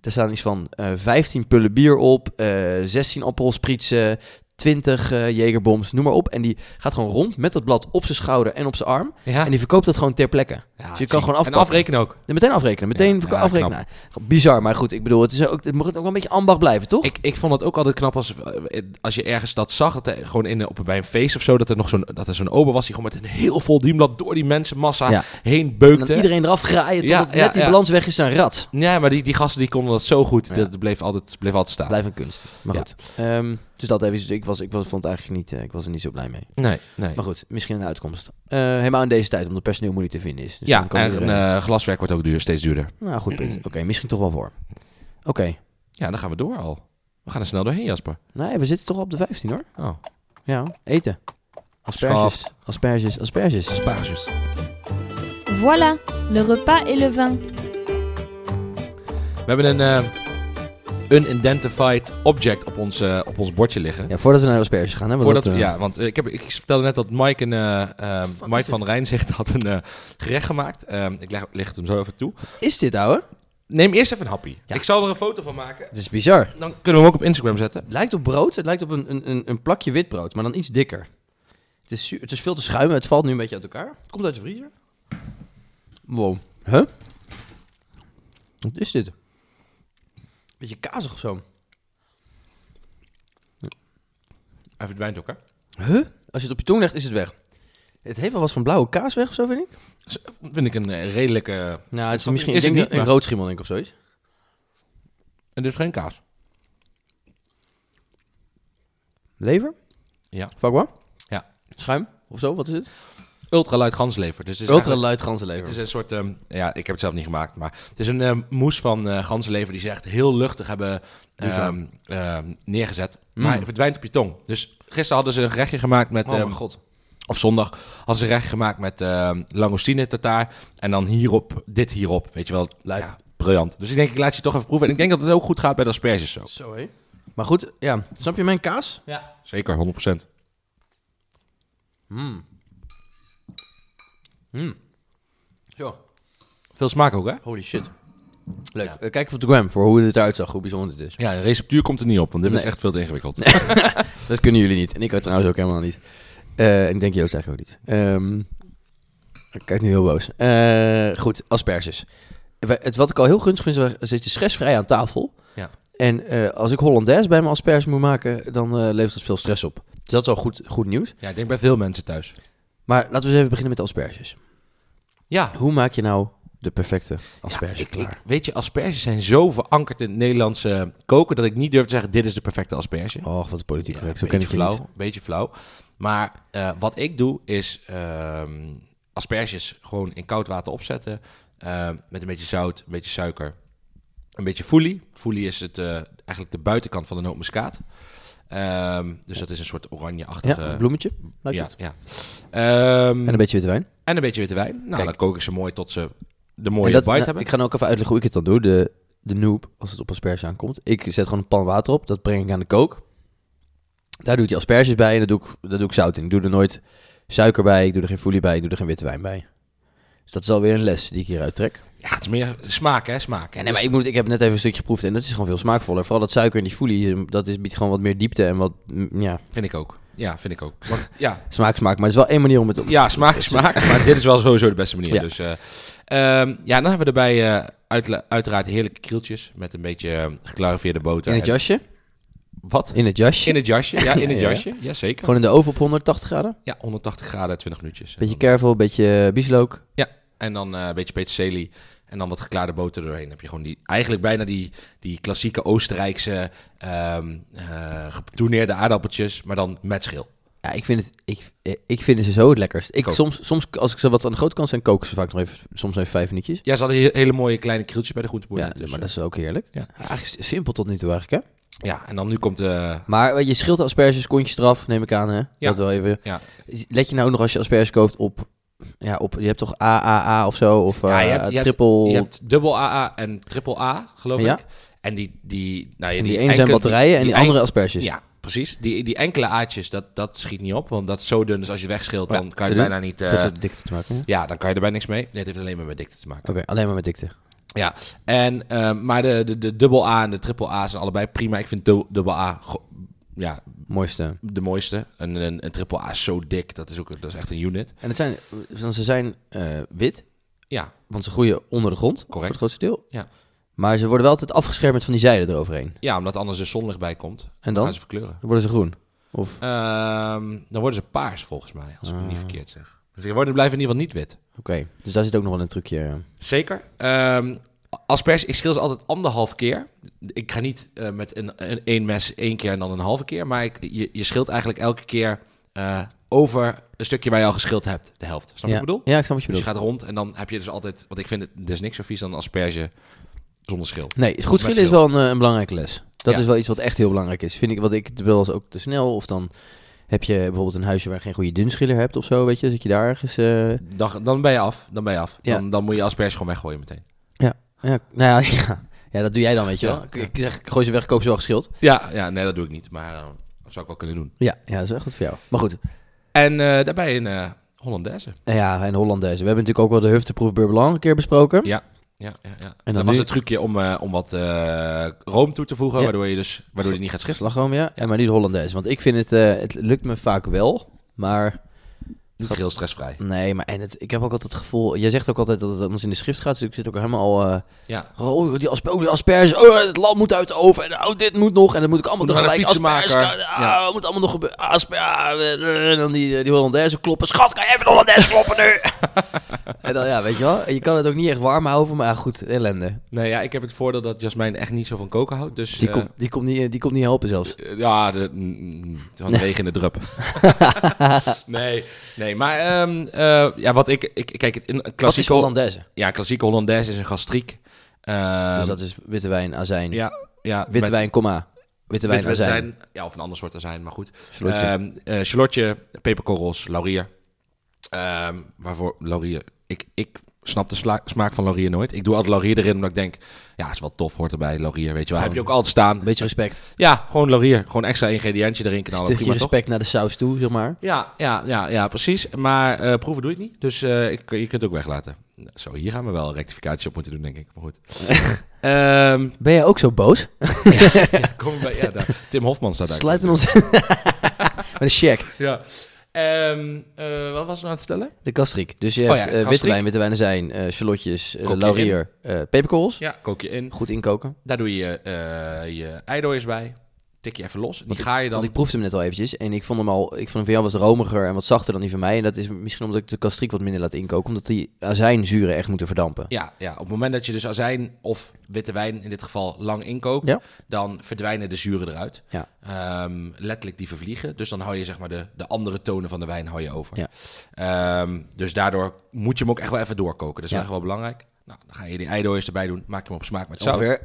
Speaker 2: Daar staan iets van eh 15 pullen bier op, eh 16 appelsprietsen, 20 eh, jegerbombs, noem maar op. En die gaat gewoon rond met dat blad op zijn schouder en op zijn arm.
Speaker 1: Ja,
Speaker 2: En die verkoopt dat gewoon ter plekke.
Speaker 1: Ja,
Speaker 2: kan
Speaker 1: zie.
Speaker 2: gewoon
Speaker 1: En
Speaker 2: afpakken.
Speaker 1: afrekenen ook.
Speaker 2: Ja, Meteen afrekenen, meteen
Speaker 1: Ja,
Speaker 2: verko-
Speaker 1: ja,
Speaker 2: afrekenen. Nou, bizar, maar goed, ik bedoel, het, is ook, het moet ook wel een beetje ambacht blijven, toch?
Speaker 1: Ik, ik vond het ook altijd knap als, eh, als je ergens dat zag, dat er gewoon in, op, bij een feest of zo, dat er nog zo'n, dat er zo'n ober was die gewoon met een heel vol dienblad door die mensenmassa
Speaker 2: Ja.
Speaker 1: heen
Speaker 2: En dan
Speaker 1: beukte.
Speaker 2: iedereen eraf graaien
Speaker 1: Ja,
Speaker 2: totdat
Speaker 1: ja,
Speaker 2: net die
Speaker 1: ja.
Speaker 2: balans weg is naar een rat.
Speaker 1: Ja, maar die, die gasten die konden dat zo goed.
Speaker 2: Ja.
Speaker 1: Dat bleef altijd, bleef altijd staan.
Speaker 2: Blijf een kunst. Maar
Speaker 1: Ja.
Speaker 2: goed. Ehm, dus dat even, ik, was, ik was, vond het eigenlijk niet, eh, ik was er niet zo blij mee.
Speaker 1: Nee, nee.
Speaker 2: Maar goed, misschien een uitkomst. Eh, helemaal in deze tijd, omdat personeel moeilijk te vinden is. Dus
Speaker 1: ja,
Speaker 2: dan kan
Speaker 1: en
Speaker 2: iedereen-
Speaker 1: eh, glaswerk wordt ook duur, steeds duurder.
Speaker 2: Nou, goed punt. Oké, misschien toch wel voor. Oké.
Speaker 1: Ja, dan gaan we door al. We gaan er snel doorheen, Jasper.
Speaker 2: Nee, we zitten toch op de 15 hoor.
Speaker 1: Oh,
Speaker 2: Ja, eten. Asperges, asperges, asperges.
Speaker 1: asperges.
Speaker 3: Voilà, le repas et le vin.
Speaker 1: We hebben een eh, unidentified object op ons, eh, op ons bordje liggen.
Speaker 2: Ja, voordat we naar de asperges gaan, hè? want
Speaker 1: Voordat,
Speaker 2: dat,
Speaker 1: we-
Speaker 2: eh,
Speaker 1: ja, want eh, ik, heb, ik vertelde net dat Mike, een, eh, eh,
Speaker 2: fuck is
Speaker 1: Mike
Speaker 2: dit?
Speaker 1: van Rijnzicht had een eh, gerecht gemaakt. Ehm, ik leg, leg het hem zo even toe.
Speaker 2: Is dit, ouwe?
Speaker 1: Neem eerst even een happy.
Speaker 2: Ja.
Speaker 1: Ik zal er een foto van maken.
Speaker 2: Het is bizar.
Speaker 1: Dan kunnen we hem ook op Instagram zetten.
Speaker 2: Het lijkt op brood. Het lijkt op een, een- een, een plakje witbrood, maar dan iets dikker. Het is, zuur- het is veel te schuim. Het valt nu een beetje uit elkaar. Het komt uit de vriezer. Wow. Huh? Wat is dit? Beetje kazig of zo.
Speaker 1: Hij verdwijnt ook, hè?
Speaker 2: Huh? Als je het op je tong legt, is het weg. Het heeft wel wat van blauwe kaas weg of zo, vind ik.
Speaker 1: Dus, eh, vind ik een eh, redelijke...
Speaker 2: Nou, het is
Speaker 1: snap-
Speaker 2: misschien ik
Speaker 1: is
Speaker 2: denk
Speaker 1: het niet,
Speaker 2: een
Speaker 1: maar-
Speaker 2: rood schimmel, denk ik, of zoiets.
Speaker 1: Het is dus geen kaas.
Speaker 2: Lever?
Speaker 1: Ja.
Speaker 2: Vakwa?
Speaker 1: Ja.
Speaker 2: Schuim? Of zo, wat is het?
Speaker 1: Ultraluid ganslever. Dus het
Speaker 2: Ultra
Speaker 1: is eigenlijk-
Speaker 2: luid ganzenlever.
Speaker 1: Het is een soort, ehm, ja, ik heb het zelf niet gemaakt, maar het is een ehm, moes van eh ganzenlever die ze echt heel luchtig hebben
Speaker 2: Bizar.
Speaker 1: ehm, ehm, neergezet.
Speaker 2: Mm.
Speaker 1: Maar het verdwijnt op je tong. Dus gisteren hadden ze een gerechtje gemaakt met,
Speaker 2: Oh mijn
Speaker 1: ehm,
Speaker 2: god.
Speaker 1: Of zondag hadden ze recht gemaakt met ehm langoustine tartaar. En dan hierop, dit hierop. Weet je wel,
Speaker 2: Lijp.
Speaker 1: ja, briljant. Dus ik denk, ik laat je toch even proeven. En ik denk dat het ook goed gaat bij de asperges zo.
Speaker 2: Zo, hé. Maar goed, ja. Snap je mijn kaas?
Speaker 1: Zeker, 100%.
Speaker 2: Mm. Mm. Zo.
Speaker 1: Veel smaak ook, hè?
Speaker 2: Holy shit. Leuk.
Speaker 1: Ja.
Speaker 2: Eh, kijk even op de gram voor hoe dit eruit zag, hoe bijzonder dit is.
Speaker 1: Ja, de receptuur komt er niet op, want dit is
Speaker 2: Nee.
Speaker 1: echt veel te ingewikkeld.
Speaker 2: Dat kunnen jullie niet. En ik ook trouwens ook helemaal niet. Eh, en ik denk Joost eigenlijk ook niet. Ehm, ik kijk nu heel boos. Eh, goed, asperges. Wij- Het, wat ik al heel gunstig vind, is wij zitten stressvrij aan tafel.
Speaker 1: Ja.
Speaker 2: En eh, als ik Hollandaise bij mijn asperges moet maken, dan eh, levert dat veel stress op. Dus dat is al goed, goed nieuws.
Speaker 1: Ja, ik denk bij veel mensen thuis.
Speaker 2: Maar laten we eens even beginnen met de asperges.
Speaker 1: Ja,
Speaker 2: Hoe maak je nou de perfecte asperge
Speaker 1: ik,
Speaker 2: klaar?
Speaker 1: ik- weet je, asperges zijn zo verankerd in het Nederlandse koken... dat ik niet durf te zeggen, dit is de perfecte asperge.
Speaker 2: Och, wat politiek
Speaker 1: Ja,
Speaker 2: Oh, correct. Zo
Speaker 1: beetje
Speaker 2: ken ik je
Speaker 1: flauw,
Speaker 2: niet.
Speaker 1: beetje flauw. Maar eh, wat ik doe is ehm, asperges gewoon in koud water opzetten. eh, met een beetje zout, een beetje suiker. Een beetje foelie. Foelie is het, eh, eigenlijk de buitenkant van de nootmuskaat. Ehm, dus dat is een soort oranje-achtige...
Speaker 2: Ja, een bloemetje. lijkt
Speaker 1: ja,
Speaker 2: het.
Speaker 1: ja. Ehm,
Speaker 2: En een beetje witte wijn.
Speaker 1: en een beetje witte wijn. Nou,
Speaker 2: Kijk.
Speaker 1: dan kook ik ze mooi tot ze de
Speaker 2: En
Speaker 1: mooie
Speaker 2: dat-
Speaker 1: bite
Speaker 2: nou,
Speaker 1: hebben.
Speaker 2: Ik ga nou ook even uitleggen hoe ik het dan doe. De, de noob, als het op asperge aankomt. Ik zet gewoon een pan water op. Dat breng ik aan de kook. Daar doe ik die asperges bij en daar doe ik, daar doe ik zout in. Ik doe er nooit suiker bij, ik doe er geen folie bij, ik doe er geen witte wijn bij. Dus dat is alweer een les die ik hieruit trek.
Speaker 1: Ja, het is meer smaak, hè? Smaak. Dus
Speaker 2: Ja, nee, maar ik, moet, ik heb net even een stukje geproefd en dat is gewoon veel smaakvoller. Vooral dat suiker en die folie, dat is, biedt gewoon wat meer diepte en wat mm, ja,
Speaker 1: Vind ik ook. Ja, vind ik ook. Want ja,
Speaker 2: smaak smaak. Maar het is wel één manier om het op
Speaker 1: Ja, smaak is smaak, maar dit is wel sowieso de beste manier.
Speaker 2: Ja.
Speaker 1: Dus, eh, ehm, ja, dan hebben we erbij eh, uitla- uiteraard heerlijke krieltjes met een beetje eh, geclareveerde boter.
Speaker 2: in het
Speaker 1: En-
Speaker 2: jasje.
Speaker 1: Wat?
Speaker 2: In het jasje.
Speaker 1: In het jasje, ja, in het
Speaker 2: Ja, ja.
Speaker 1: jasje. Jazeker.
Speaker 2: Gewoon in de oven op 180 graden.
Speaker 1: Ja, 180 graden, 20 minuutjes. En
Speaker 2: Beetje
Speaker 1: dan-
Speaker 2: kervel, beetje eh, bieslook.
Speaker 1: En dan eh, een beetje peterselie en dan wat geklaarde boter doorheen. Dan heb je gewoon die, eigenlijk bijna die, die klassieke Oostenrijkse ehm eh, gepatoeneerde aardappeltjes, maar dan met schil.
Speaker 2: Ja, ik vind, het, ik, eh, ik vind ze zo het lekkerst. Ik
Speaker 1: ook.
Speaker 2: soms, soms, als ik ze wat aan de grote kant zijn, koken ze vaak nog even, soms even vijf minuutjes.
Speaker 1: Ja, ze hadden he- hele mooie kleine krieltjes bij de groenteboer.
Speaker 2: Ja,
Speaker 1: net, dus,
Speaker 2: maar
Speaker 1: eh,
Speaker 2: dat is ook heerlijk.
Speaker 1: ja.
Speaker 2: Eigenlijk is het simpel tot nu toe eigenlijk, hè?
Speaker 1: Ja, en dan nu komt de...
Speaker 2: Maar eh, je schilt de asperges, kontjes eraf, neem ik aan, hè?
Speaker 1: Ja.
Speaker 2: Dat wel even.
Speaker 1: Ja.
Speaker 2: Let je nou ook nog als je asperges koopt op... Ja, op, je hebt toch AAA of zo? Of eh
Speaker 1: Ja, je hebt- je hebt-
Speaker 2: triple...
Speaker 1: Je hebt dubbel AA en triple A, geloof
Speaker 2: Ja.
Speaker 1: ik. En die... die, nou ja,
Speaker 2: en die, ene
Speaker 1: enkele-
Speaker 2: zijn batterijen en die
Speaker 1: enk-
Speaker 2: andere asperges.
Speaker 1: Ja, precies. Die, die enkele aatjes, dat, dat schiet niet op. Want dat is zo dun, dus als je wegschilt,
Speaker 2: Ja,
Speaker 1: dan kan je
Speaker 2: te doen.
Speaker 1: bijna niet...
Speaker 2: Dat
Speaker 1: eh,
Speaker 2: heeft met dikte te maken, hè? Oké,
Speaker 1: ja, dan kan je er bijna niks mee. Nee, het heeft alleen maar met dikte te maken.
Speaker 2: alleen maar met dikte.
Speaker 1: En, eh, maar de, de, de dubbel A en de triple A zijn allebei prima. Ik vind dub- dubbel A go- ja,
Speaker 2: Mooiste.
Speaker 1: de mooiste. En een, een triple A is zo dik, dat is, ook, dat is echt een unit.
Speaker 2: En het zijn, want ze zijn eh, wit,
Speaker 1: Ja,
Speaker 2: want ze groeien onder de grond. Voor
Speaker 1: Correct.
Speaker 2: het grootste deel.
Speaker 1: Ja.
Speaker 2: Maar ze worden wel altijd afgeschermd met van die zijde eroverheen.
Speaker 1: ja omdat anders de zonlicht bij komt. Dan,
Speaker 2: En dan?
Speaker 1: gaan ze
Speaker 2: Dan
Speaker 1: verkleuren.
Speaker 2: worden ze groen. Of
Speaker 1: Ehm, dan worden ze paars volgens mij, als ik het niet
Speaker 2: Ah.
Speaker 1: verkeerd zeg. Dus ze worden, blijven in ieder geval niet wit.
Speaker 2: Oké, dus daar zit ook nog wel een trucje.
Speaker 1: Zeker. Ehm asperges, ik schil ze altijd anderhalf keer. Ik ga niet eh, met een, een, één mes één keer en dan een halve keer. Maar ik, je, je schilt eigenlijk elke keer eh, over een stukje waar je al geschild hebt, de helft. Snap je
Speaker 2: ja.
Speaker 1: wat ik bedoel?
Speaker 2: Ja, ik snap wat je
Speaker 1: Dus je
Speaker 2: bedoelt.
Speaker 1: gaat rond en dan heb je dus altijd... Want ik vind het, er is niks zo vies dan een asperge zonder schil.
Speaker 2: Nee, goed schillen is
Speaker 1: schil.
Speaker 2: wel een, eh, een belangrijke les. Dat
Speaker 1: Ja.
Speaker 2: is wel iets wat echt heel belangrijk is. Vind ik wat ik wel eens ook te snel. Of dan heb je bijvoorbeeld een huisje waar je geen goede dunschiller hebt of zo. Weet je, zit je daar ergens. eh,
Speaker 1: Dan, dan ben je af, dan ben je af.
Speaker 2: Ja.
Speaker 1: Dan, dan moet je asperges gewoon weggooien meteen.
Speaker 2: ja, nou ja, ja. ja, dat doe jij dan, weet je
Speaker 1: Ja,
Speaker 2: wel. Ik- Ik zeg, ik gooi ze weg, koop ze wel geschild.
Speaker 1: Ja, ja nee, dat doe ik niet. Maar eh, dat zou ik wel kunnen doen.
Speaker 2: Ja, ja, dat is echt goed voor jou. Maar goed,
Speaker 1: En eh, daarbij een eh Hollandaise.
Speaker 2: eh, ja, en Hollandaise. We hebben natuurlijk ook wel de Hufteproef Beurre Blanc een keer besproken.
Speaker 1: Ja. Ja, ja, ja.
Speaker 2: dan
Speaker 1: dat
Speaker 2: nu-
Speaker 1: was het trucje om, eh, om wat eh, room toe te voegen,
Speaker 2: Ja.
Speaker 1: waardoor je dus waardoor je niet gaat schiften.
Speaker 2: Slagroom, ja. En maar niet de Hollandaise. Want ik vind het, eh, het lukt me vaak wel. Maar
Speaker 1: Niet heel stressvrij.
Speaker 2: nee, maar en het, ik heb ook altijd het gevoel... Jij zegt ook altijd dat het anders in de schrift gaat. Dus ik zit ook helemaal... eh,
Speaker 1: Ja.
Speaker 2: Oh, die, asper, oh, die asperges. Oh, het land moet uit de oven. En oh, dit moet nog. En dat moet ik allemaal
Speaker 1: Moet nog
Speaker 2: tegelijk.
Speaker 1: naar de
Speaker 2: Asperges.
Speaker 1: fietsenmaker.
Speaker 2: Ah,
Speaker 1: Ja.
Speaker 2: moet allemaal nog gebeuren. Asper, ah, eh, en dan die, eh, die Hollandaise kloppen. Schat, kan je even de Hollandaise kloppen nu? en dan, ja, weet je wel. Je kan het ook niet echt warm houden. Maar ja, goed, ellende.
Speaker 1: Nee, ja, ik heb het voordeel dat Jasmijn echt niet zo van koken houdt. Dus
Speaker 2: Die,
Speaker 1: eh,
Speaker 2: komt, die, komt niet, die komt niet helpen zelfs.
Speaker 1: eh, ja, de, mm, mm, van de regen in de drup. nee, nee, maar ehm, eh, ja, wat ik, ik kijk, het- een
Speaker 2: Wat is
Speaker 1: klassieke,
Speaker 2: Hollandaise?
Speaker 1: ja, een klassieke Hollandaise is een gastriek. Ehm,
Speaker 2: dus dat is witte wijn, azijn.
Speaker 1: ja, ja,
Speaker 2: Witte
Speaker 1: met-
Speaker 2: wijn, komma. Witte wijn,
Speaker 1: witte
Speaker 2: azijn.
Speaker 1: Ja, of een ander soort azijn, maar goed.
Speaker 2: Slotje.
Speaker 1: Ehm, eh, Charlotje, peperkorrels, laurier. Ehm, waarvoor laurier? Ik, ik snap de sla- smaak van laurier nooit. Ik doe altijd laurier erin, omdat ik denk... Ja, is wel tof, hoort erbij, laurier, weet je wel.
Speaker 2: Oh.
Speaker 1: Heb je ook altijd staan.
Speaker 2: een beetje respect.
Speaker 1: Ja, gewoon laurier. Gewoon extra ingrediëntje erin
Speaker 2: Een
Speaker 1: knallen.
Speaker 2: stukje
Speaker 1: Nou, prima,
Speaker 2: respect naar de saus toe, zeg maar.
Speaker 1: toch? Ja, ja, ja, ja, precies. Maar eh, proeven doe ik niet, dus eh, ik, je kunt het ook weglaten. Zo, hier gaan we wel rectificatie op moeten doen, denk ik. Maar goed. Ehm,
Speaker 2: Ben jij ook zo boos?
Speaker 1: komen we bij, ja, daar. Tim Hofman staat daar.
Speaker 2: Sluiten ons... Met een check.
Speaker 1: Ja. Ehm, eh, wat was ik nou aan het vertellen?
Speaker 2: De kastriek. Dus je
Speaker 1: Oh
Speaker 2: hebt
Speaker 1: ja,
Speaker 2: eh, witte
Speaker 1: kastriek.
Speaker 2: wijn, witte wijn azijn, eh charlotjes, eh,
Speaker 1: Kook je
Speaker 2: laurier, eh peperkorrels.
Speaker 1: Ja. Kook je in.
Speaker 2: Goed inkoken.
Speaker 1: Daar doe je eh je eidooiers bij. Tik je even los. Die ga je dan...
Speaker 2: Want ik proefde hem net al eventjes en ik vond hem al, ik vond hem van jou wat romiger en wat zachter dan die van mij. En dat is misschien omdat ik de kastriek wat minder laat inkoken, omdat die azijnzuren echt moeten verdampen.
Speaker 1: Ja, ja, op het moment dat je dus azijn of witte wijn in dit geval lang inkookt,
Speaker 2: Ja.
Speaker 1: dan verdwijnen de zuren eruit.
Speaker 2: Ja.
Speaker 1: Ehm, letterlijk die vervliegen. Dus dan hou je zeg maar de, de andere tonen van de wijn hou je over.
Speaker 2: Ja.
Speaker 1: Ehm, dus daardoor moet je hem ook echt wel even doorkoken. Dat is
Speaker 2: Ja.
Speaker 1: eigenlijk wel belangrijk. Nou, dan ga je die eidooiers erbij doen. Maak je hem op smaak met zout.
Speaker 2: Ongeveer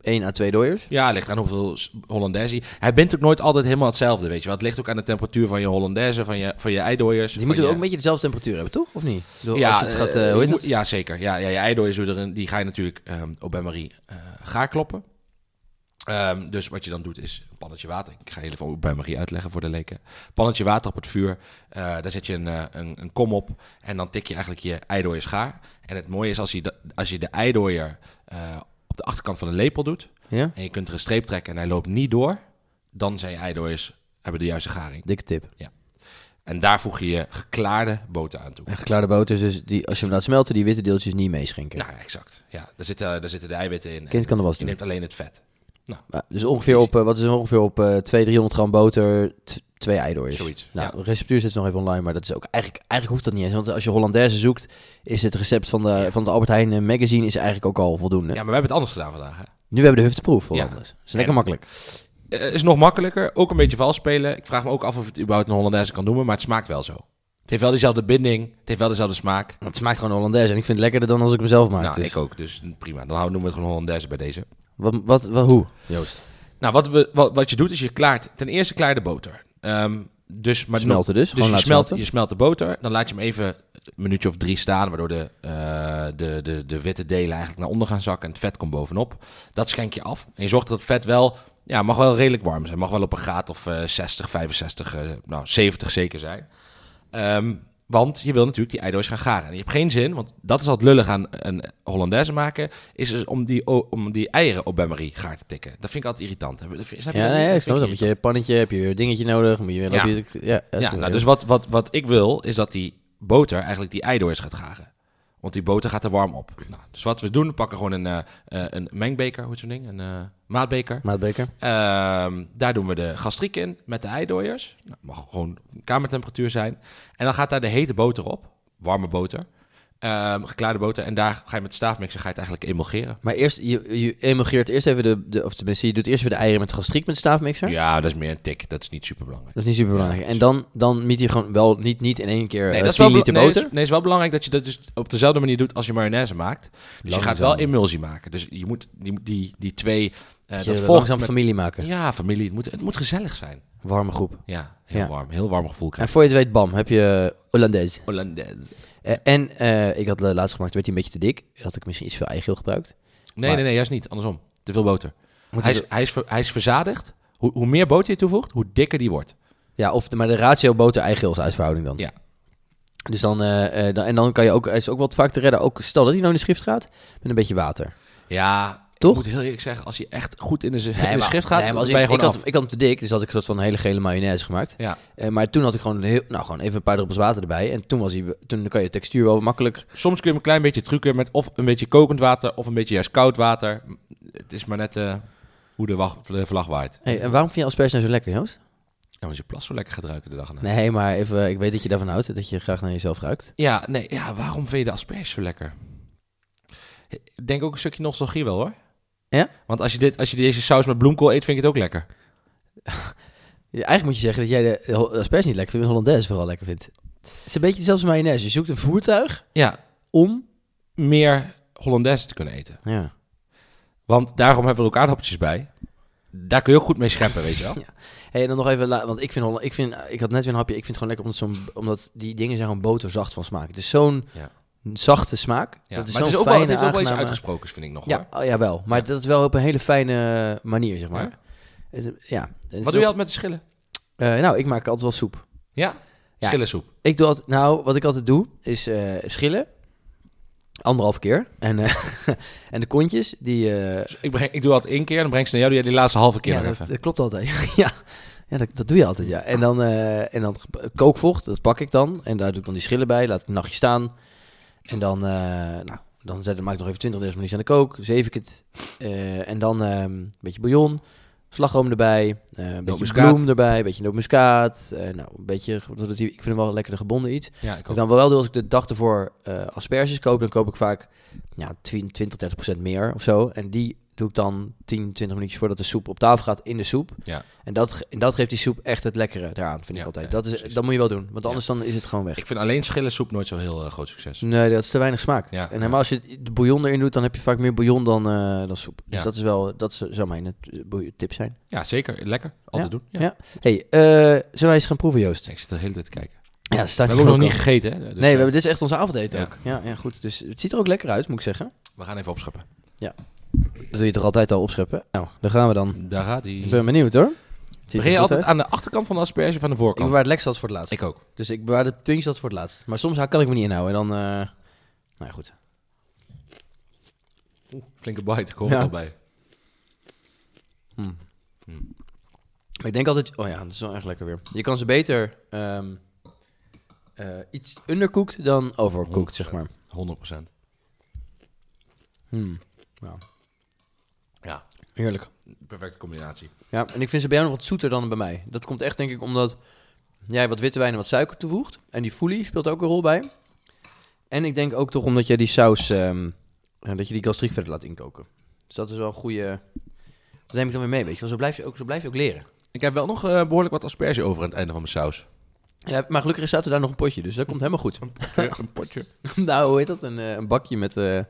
Speaker 2: 1 à 2 dooiers.
Speaker 1: Ja, ligt aan hoeveel s- Hollandaise. Hij bent ook nooit altijd helemaal hetzelfde, weet je wel. Het ligt ook aan de temperatuur van je Hollandaise, van je, van je eidooiers.
Speaker 2: Die
Speaker 1: van
Speaker 2: moeten
Speaker 1: je...
Speaker 2: ook een beetje dezelfde temperatuur hebben, toch? Of niet? Ik bedoel, als je het
Speaker 1: eh,
Speaker 2: gaat, eh, hoe
Speaker 1: je
Speaker 2: heet
Speaker 1: moet-
Speaker 2: het?
Speaker 1: ja, zeker. Ja, ja, je eidooiers doe je erin, die ga je natuurlijk ehm, op bij Marie eh, gaar kloppen. Ehm, dus wat je dan doet is een pannetje water. Ik ga jullie van bij Marie uitleggen voor de leken. Pannetje water op het vuur. Eh, daar zet je een, eh, een, een kom op. En dan tik je eigenlijk je eidooiers gaar. En het mooie is als je de, als je de eidooier eh, op de achterkant van een lepel doet.
Speaker 2: Ja?
Speaker 1: En je kunt er een streep trekken en hij loopt niet door. Dan zijn je eidooiers hebben de juiste garing.
Speaker 2: Dikke tip.
Speaker 1: En daar voeg je je geklaarde boter aan toe.
Speaker 2: En gekleurde boters, dus die, als je hem laat smelten, die witte deeltjes niet meeschenken.
Speaker 1: Nou, ja, exact. Ja, daar zitten, daar zitten de eiwitten in.
Speaker 2: Kind kan er was
Speaker 1: Je
Speaker 2: doen.
Speaker 1: neemt alleen het vet.
Speaker 2: Maar, dus ongeveer op, eh, wat is het, ongeveer op eh 200, 300 gram boter, t- twee eidooiers.
Speaker 1: Zoiets,
Speaker 2: Nou, de
Speaker 1: ja.
Speaker 2: receptuur zit nog even online, maar dat is ook eigenlijk, eigenlijk hoeft dat niet eens. Want als je Hollandaise zoekt, is het recept van de, van het Albert Heijn eh, magazine is eigenlijk ook al voldoende.
Speaker 1: Ja, maar we hebben het anders gedaan vandaag. Hè?
Speaker 2: Nu hebben we de hufteproef voor
Speaker 1: Ja.
Speaker 2: anders. Dat is lekker makkelijk.
Speaker 1: Eh, is nog makkelijker. Ook een beetje vals spelen. Ik vraag me ook af of het überhaupt een Hollandaise kan noemen. Maar het smaakt wel zo. Het heeft wel dezelfde binding. Het heeft wel dezelfde smaak.
Speaker 2: Want het smaakt gewoon Hollandaise en ik vind het lekkerder dan als ik hem zelf maak.
Speaker 1: nou,
Speaker 2: dus
Speaker 1: ik ook. Dus prima. Dan houden- noemen we het gewoon Hollandaise bij deze.
Speaker 2: Wat, wat, wat, hoe? Joost.
Speaker 1: Nou, Nou, wat, we, wat, wat je doet is je klaart... Ten eerste klaar je de boter. Ehm, dus, maar
Speaker 2: Smelten dus.
Speaker 1: Dus
Speaker 2: gewoon
Speaker 1: je
Speaker 2: laten
Speaker 1: smelt, je
Speaker 2: smelten.
Speaker 1: smelt de boter, dan laat je hem even een minuutje of drie staan, waardoor de, eh, de, de, de witte delen eigenlijk naar onder gaan zakken en het vet komt bovenop. Dat schenk je af. En je zorgt dat het vet wel, ja, mag wel redelijk warm zijn. Mag wel op een graad of eh, 60, 65, eh, nou 70 zeker zijn. Ehm, want je wil natuurlijk die eido's gaan garen. En je hebt geen zin, want dat is altijd lullig aan een Hollandaise maken, is dus om die, o- om die eieren op Bain-Marie gaar te tikken. Dat vind ik altijd irritant. Heb je- snap je dat
Speaker 2: Ja,
Speaker 1: niet?
Speaker 2: nee, ik
Speaker 1: vind
Speaker 2: snap dat. Moet je pannetje, heb je weer een dingetje nodig. Moet je weer...
Speaker 1: Ja.
Speaker 2: Ja, ja, dat is
Speaker 1: Ja,
Speaker 2: wel
Speaker 1: nou,
Speaker 2: heel-
Speaker 1: dus wat, wat, wat ik wil, is dat die boter eigenlijk die eidoors gaat garen. Want die boter gaat er warm op. Nou, dus wat we doen, we pakken gewoon een, eh, eh, een mengbeker, hoe heet zo'n ding? Een eh, maatbeker.
Speaker 2: Maatbeker.
Speaker 1: Ehm, daar doen we de gastriek in met de eidooiers. Nou, mag gewoon kamertemperatuur zijn. En dan gaat daar de hete boter op, warme boter, Ehm geklaarde boter. En daar ga je met staafmixer ga je het eigenlijk emulgeren.
Speaker 2: Maar eerst, je, je emulgeert eerst even de, de... Of tenminste, je doet eerst even de eieren met gastriek met de staafmixer.
Speaker 1: Ja, dat is meer een tik. Dat is niet super belangrijk.
Speaker 2: Dat is niet super belangrijk. en dan, dan miet je gewoon wel niet, niet in één keer eh, 10
Speaker 1: bela-
Speaker 2: liter
Speaker 1: nee,
Speaker 2: boter.
Speaker 1: het is- nee, het is wel belangrijk dat je dat dus op dezelfde manier doet als je mayonaise maakt. Dus je gaat wel
Speaker 2: Langzaam.
Speaker 1: emulsie maken. Dus je moet die, die, die twee... eh
Speaker 2: dat
Speaker 1: dat
Speaker 2: je
Speaker 1: volgt
Speaker 2: langzaam
Speaker 1: met-
Speaker 2: familie maken.
Speaker 1: Ja, familie. Het moet, het moet gezellig zijn.
Speaker 2: Warme groep.
Speaker 1: Ja, heel
Speaker 2: Ja.
Speaker 1: warm. Heel warm gevoel
Speaker 2: En
Speaker 1: krijgen.
Speaker 2: voor je het weet, bam, heb je eh, Hollandaise.
Speaker 1: Hollandaise.
Speaker 2: Eh, en eh, ik had eh, laatst gemaakt, werd hij een beetje te dik. Had ik misschien iets veel eigeel gebruikt.
Speaker 1: Nee,
Speaker 2: Maar-
Speaker 1: nee, nee, juist niet. Andersom. Te veel boter.
Speaker 2: Moet
Speaker 1: Hij
Speaker 2: ik-
Speaker 1: is, hij, is, ver- hij is verzadigd. Hoe, hoe meer boter je toevoegt, hoe dikker die wordt.
Speaker 2: Ja, of de, maar de ratio boter eigeel is uitverhouding dan.
Speaker 1: Ja.
Speaker 2: Dus dan, eh, eh, dan, en dan kan je ook, hij is ook wat vaak te redden. Ook stel dat hij nou in de schrift gaat, met een beetje water.
Speaker 1: Ja,
Speaker 2: Toch?
Speaker 1: ik moet heel eerlijk zeggen, als je echt goed in de, z- in de
Speaker 2: maar-
Speaker 1: schrift gaat,
Speaker 2: nee, maar
Speaker 1: dan
Speaker 2: als
Speaker 1: ben je
Speaker 2: ik, ik,
Speaker 1: gewoon
Speaker 2: had,
Speaker 1: af.
Speaker 2: hem- ik had hem te dik, dus had ik een soort van hele gele mayonaise gemaakt.
Speaker 1: Ja.
Speaker 2: Eh, maar toen had ik gewoon, heel, nou, gewoon even een paar druppels water erbij. En toen, was hij, toen kan je de textuur wel makkelijk...
Speaker 1: Soms kun je hem een klein beetje trucken met of een beetje kokend water of een beetje juist koud water. Het is maar net eh, hoe de, wacht, de vlag waait.
Speaker 2: Hey, en waarom vind je asperges nou zo lekker, Joost?
Speaker 1: Ja, want je plas zo lekker gaat ruiken de dag erna.
Speaker 2: Nee, maar even, ik weet dat je daarvan houdt, dat je graag naar jezelf ruikt.
Speaker 1: Ja, nee, ja, waarom vind je de asperge zo lekker? Ik denk ook een stukje nostalgie wel hoor.
Speaker 2: Ja?
Speaker 1: Want als je, dit, als je deze saus met bloemkool eet, vind ik het ook lekker.
Speaker 2: Ja, Eigenlijk moet je zeggen dat jij de de asperges niet lekker vindt, maar Hollandaise vooral lekker vindt. Het is een beetje hetzelfde als mayonaise. Je zoekt een voertuig
Speaker 1: Ja,
Speaker 2: om...
Speaker 1: meer Hollandaise te kunnen eten.
Speaker 2: Ja.
Speaker 1: Want daarom hebben we er ook aardappeltjes bij. Daar kun je ook goed mee scheppen, weet je wel.
Speaker 2: Hey, en dan nog even, la- want ik vind, Holla- ik vind, ik had net weer een hapje, ik vind het gewoon lekker omdat, zo'n, omdat die dingen zijn gewoon boterzacht van smaak. Het is zo'n
Speaker 1: Ja.
Speaker 2: zachte smaak.
Speaker 1: Ja,
Speaker 2: dat is
Speaker 1: maar
Speaker 2: zo'n
Speaker 1: het is ook wel,
Speaker 2: fijne,
Speaker 1: het heeft ook wel iets
Speaker 2: aangename-
Speaker 1: uitgesproken, vind ik nog hoor.
Speaker 2: Ja, oh, jawel. Maar
Speaker 1: Ja.
Speaker 2: dat is wel op een hele fijne manier, zeg maar. Het- Ja. Het is
Speaker 1: Wat doe je
Speaker 2: ook-
Speaker 1: altijd met de schillen?
Speaker 2: eh, nou, ik maak altijd wel soep.
Speaker 1: Ja,
Speaker 2: Ja.
Speaker 1: schillensoep.
Speaker 2: Ik doe altijd, nou, wat ik altijd doe, is eh, schillen. Anderhalf keer. En, eh, en de kontjes, die... eh,
Speaker 1: Dus ik, breng, ik doe altijd één keer en dan breng ik ze naar jou. Doe jij die laatste halve keer
Speaker 2: ja,
Speaker 1: nog
Speaker 2: dat,
Speaker 1: even.
Speaker 2: dat klopt altijd. ja, ja dat, dat doe je altijd, ja. En dan, eh, en dan kookvocht, dat pak ik dan. En daar doe ik dan die schillen bij. Laat ik een nachtje staan. En dan, eh, nou, dan zet, maak ik nog even 20, 30 minuutjes aan de kook. Zeef ik het. Eh, en dan ehm, een beetje bouillon. Slagroom erbij. eh, een beetje
Speaker 1: Nootmuskaat.
Speaker 2: bloem erbij. Een beetje nootmuskaat. eh, nou, een beetje... Ik vind hem wel lekker gebonden iets.
Speaker 1: Ja, ik
Speaker 2: Wat
Speaker 1: ook.
Speaker 2: ik dan wel doe als ik de dag ervoor eh, asperges koop, dan koop ik vaak ja, 20, 20, 30 procent meer of zo. En die doe ik dan 10, 20 minuutjes voordat de soep op tafel gaat in de soep.
Speaker 1: Ja.
Speaker 2: En, dat, ge- en dat geeft die soep echt het lekkere daaraan, vind
Speaker 1: Ja,
Speaker 2: ik altijd.
Speaker 1: ja,
Speaker 2: dat, is,
Speaker 1: precies.
Speaker 2: dat moet je wel doen, want
Speaker 1: Ja.
Speaker 2: anders dan is het gewoon weg.
Speaker 1: Ik vind alleen schillensoep nooit zo'n heel eh, groot succes.
Speaker 2: Nee, dat is te weinig smaak.
Speaker 1: Ja,
Speaker 2: en
Speaker 1: ja.
Speaker 2: helemaal als je de bouillon erin doet, dan heb je vaak meer bouillon dan, eh, dan soep. Dus
Speaker 1: Ja.
Speaker 2: dat is wel, dat zou- zou mijn eh, tip zijn.
Speaker 1: Ja, zeker. Lekker. Altijd doen. Ja. Dus
Speaker 2: Ja. hey, eh, zullen wij eens gaan proeven, Joost?
Speaker 1: Ik zit de hele tijd te kijken.
Speaker 2: Ja,
Speaker 1: We
Speaker 2: staat
Speaker 1: hebben ook nog niet gegeten. Hè? Dus,
Speaker 2: nee, we
Speaker 1: eh,
Speaker 2: hebben, dit is echt onze avondeten
Speaker 1: Ja.
Speaker 2: ook. Ja, ja, goed. Dus het ziet er ook lekker uit, moet ik zeggen.
Speaker 1: we gaan even opscheppen.
Speaker 2: Dat wil je toch altijd al opscheppen? Nou, daar gaan we dan.
Speaker 1: Daar gaat
Speaker 2: Ik
Speaker 1: hij.
Speaker 2: ben benieuwd hoor. Ziet er
Speaker 1: Begin je
Speaker 2: goed
Speaker 1: altijd
Speaker 2: uit.
Speaker 1: aan de achterkant van de asperge of aan de
Speaker 2: Ik
Speaker 1: voorkant?
Speaker 2: bewaar het lekstas voor het laatst.
Speaker 1: Ik ook.
Speaker 2: Dus ik bewaar het puntje voor het laatst. Maar soms kan ik me niet inhouden en dan... eh, Nou ja, goed.
Speaker 1: Flinke bite. Ik hoor
Speaker 2: Ja.
Speaker 1: het al bij. Hmm.
Speaker 2: Hmm. Maar ik denk altijd... Oh ja, dat is wel echt lekker weer. Je kan ze beter ehm, eh, iets undercooked dan overcooked, zeg maar.
Speaker 1: 100%.
Speaker 2: Hmm. Nou,
Speaker 1: Ja,
Speaker 2: heerlijk.
Speaker 1: perfecte combinatie.
Speaker 2: Ja, en ik vind ze bij jou nog wat zoeter dan bij mij. Dat komt echt denk ik omdat jij wat witte wijn en wat suiker toevoegt. En die foelie speelt ook een rol bij. En ik denk ook toch omdat jij die saus, ehm, eh, dat je die gastriek verder laat inkoken. Dus dat is wel een goede... Dat neem ik dan weer mee, weet je wel. Zo blijf je ook, zo blijf je ook leren.
Speaker 1: Ik heb wel nog eh, behoorlijk wat asperge over aan het einde van mijn saus.
Speaker 2: Ja, maar gelukkig staat er daar nog een potje, dus dat komt helemaal goed.
Speaker 1: een potje.
Speaker 2: nou, hoe heet dat? Een, eh, een bakje met... eh,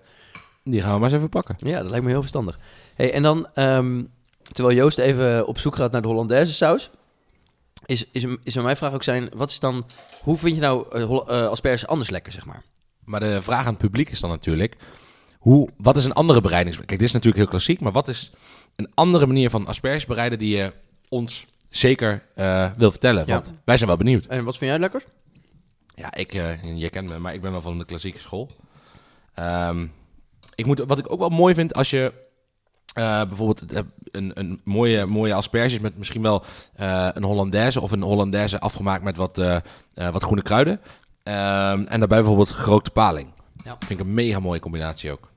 Speaker 1: Die gaan we maar eens even pakken.
Speaker 2: Ja, dat lijkt me heel verstandig. Hey, en dan, ehm, Terwijl Joost even op zoek gaat naar de Hollandaise saus. Is, is, is mijn vraag ook zijn, wat is dan, hoe vind je nou eh, Holla- eh, asperges anders lekker, zeg maar?
Speaker 1: Maar de vraag aan het publiek is dan natuurlijk: hoe, wat is een andere bereidingsmanier? Kijk, dit is natuurlijk heel klassiek, maar wat is een andere manier van asperges bereiden die je ons zeker eh, wil vertellen?
Speaker 2: Ja.
Speaker 1: Want wij zijn wel benieuwd.
Speaker 2: En wat vind jij lekker?
Speaker 1: Ja, ik, eh je kent me, maar ik ben wel van de klassieke school. Ehm, ik moet, wat ik ook wel mooi vind als je eh, bijvoorbeeld eh, een, een mooie, mooie asperges met misschien wel eh, een Hollandaise of een Hollandaise afgemaakt met wat, eh, eh, wat groene kruiden. Ehm, en daarbij bijvoorbeeld gerookte paling.
Speaker 2: Ja.
Speaker 1: Vind ik een mega mooie combinatie ook.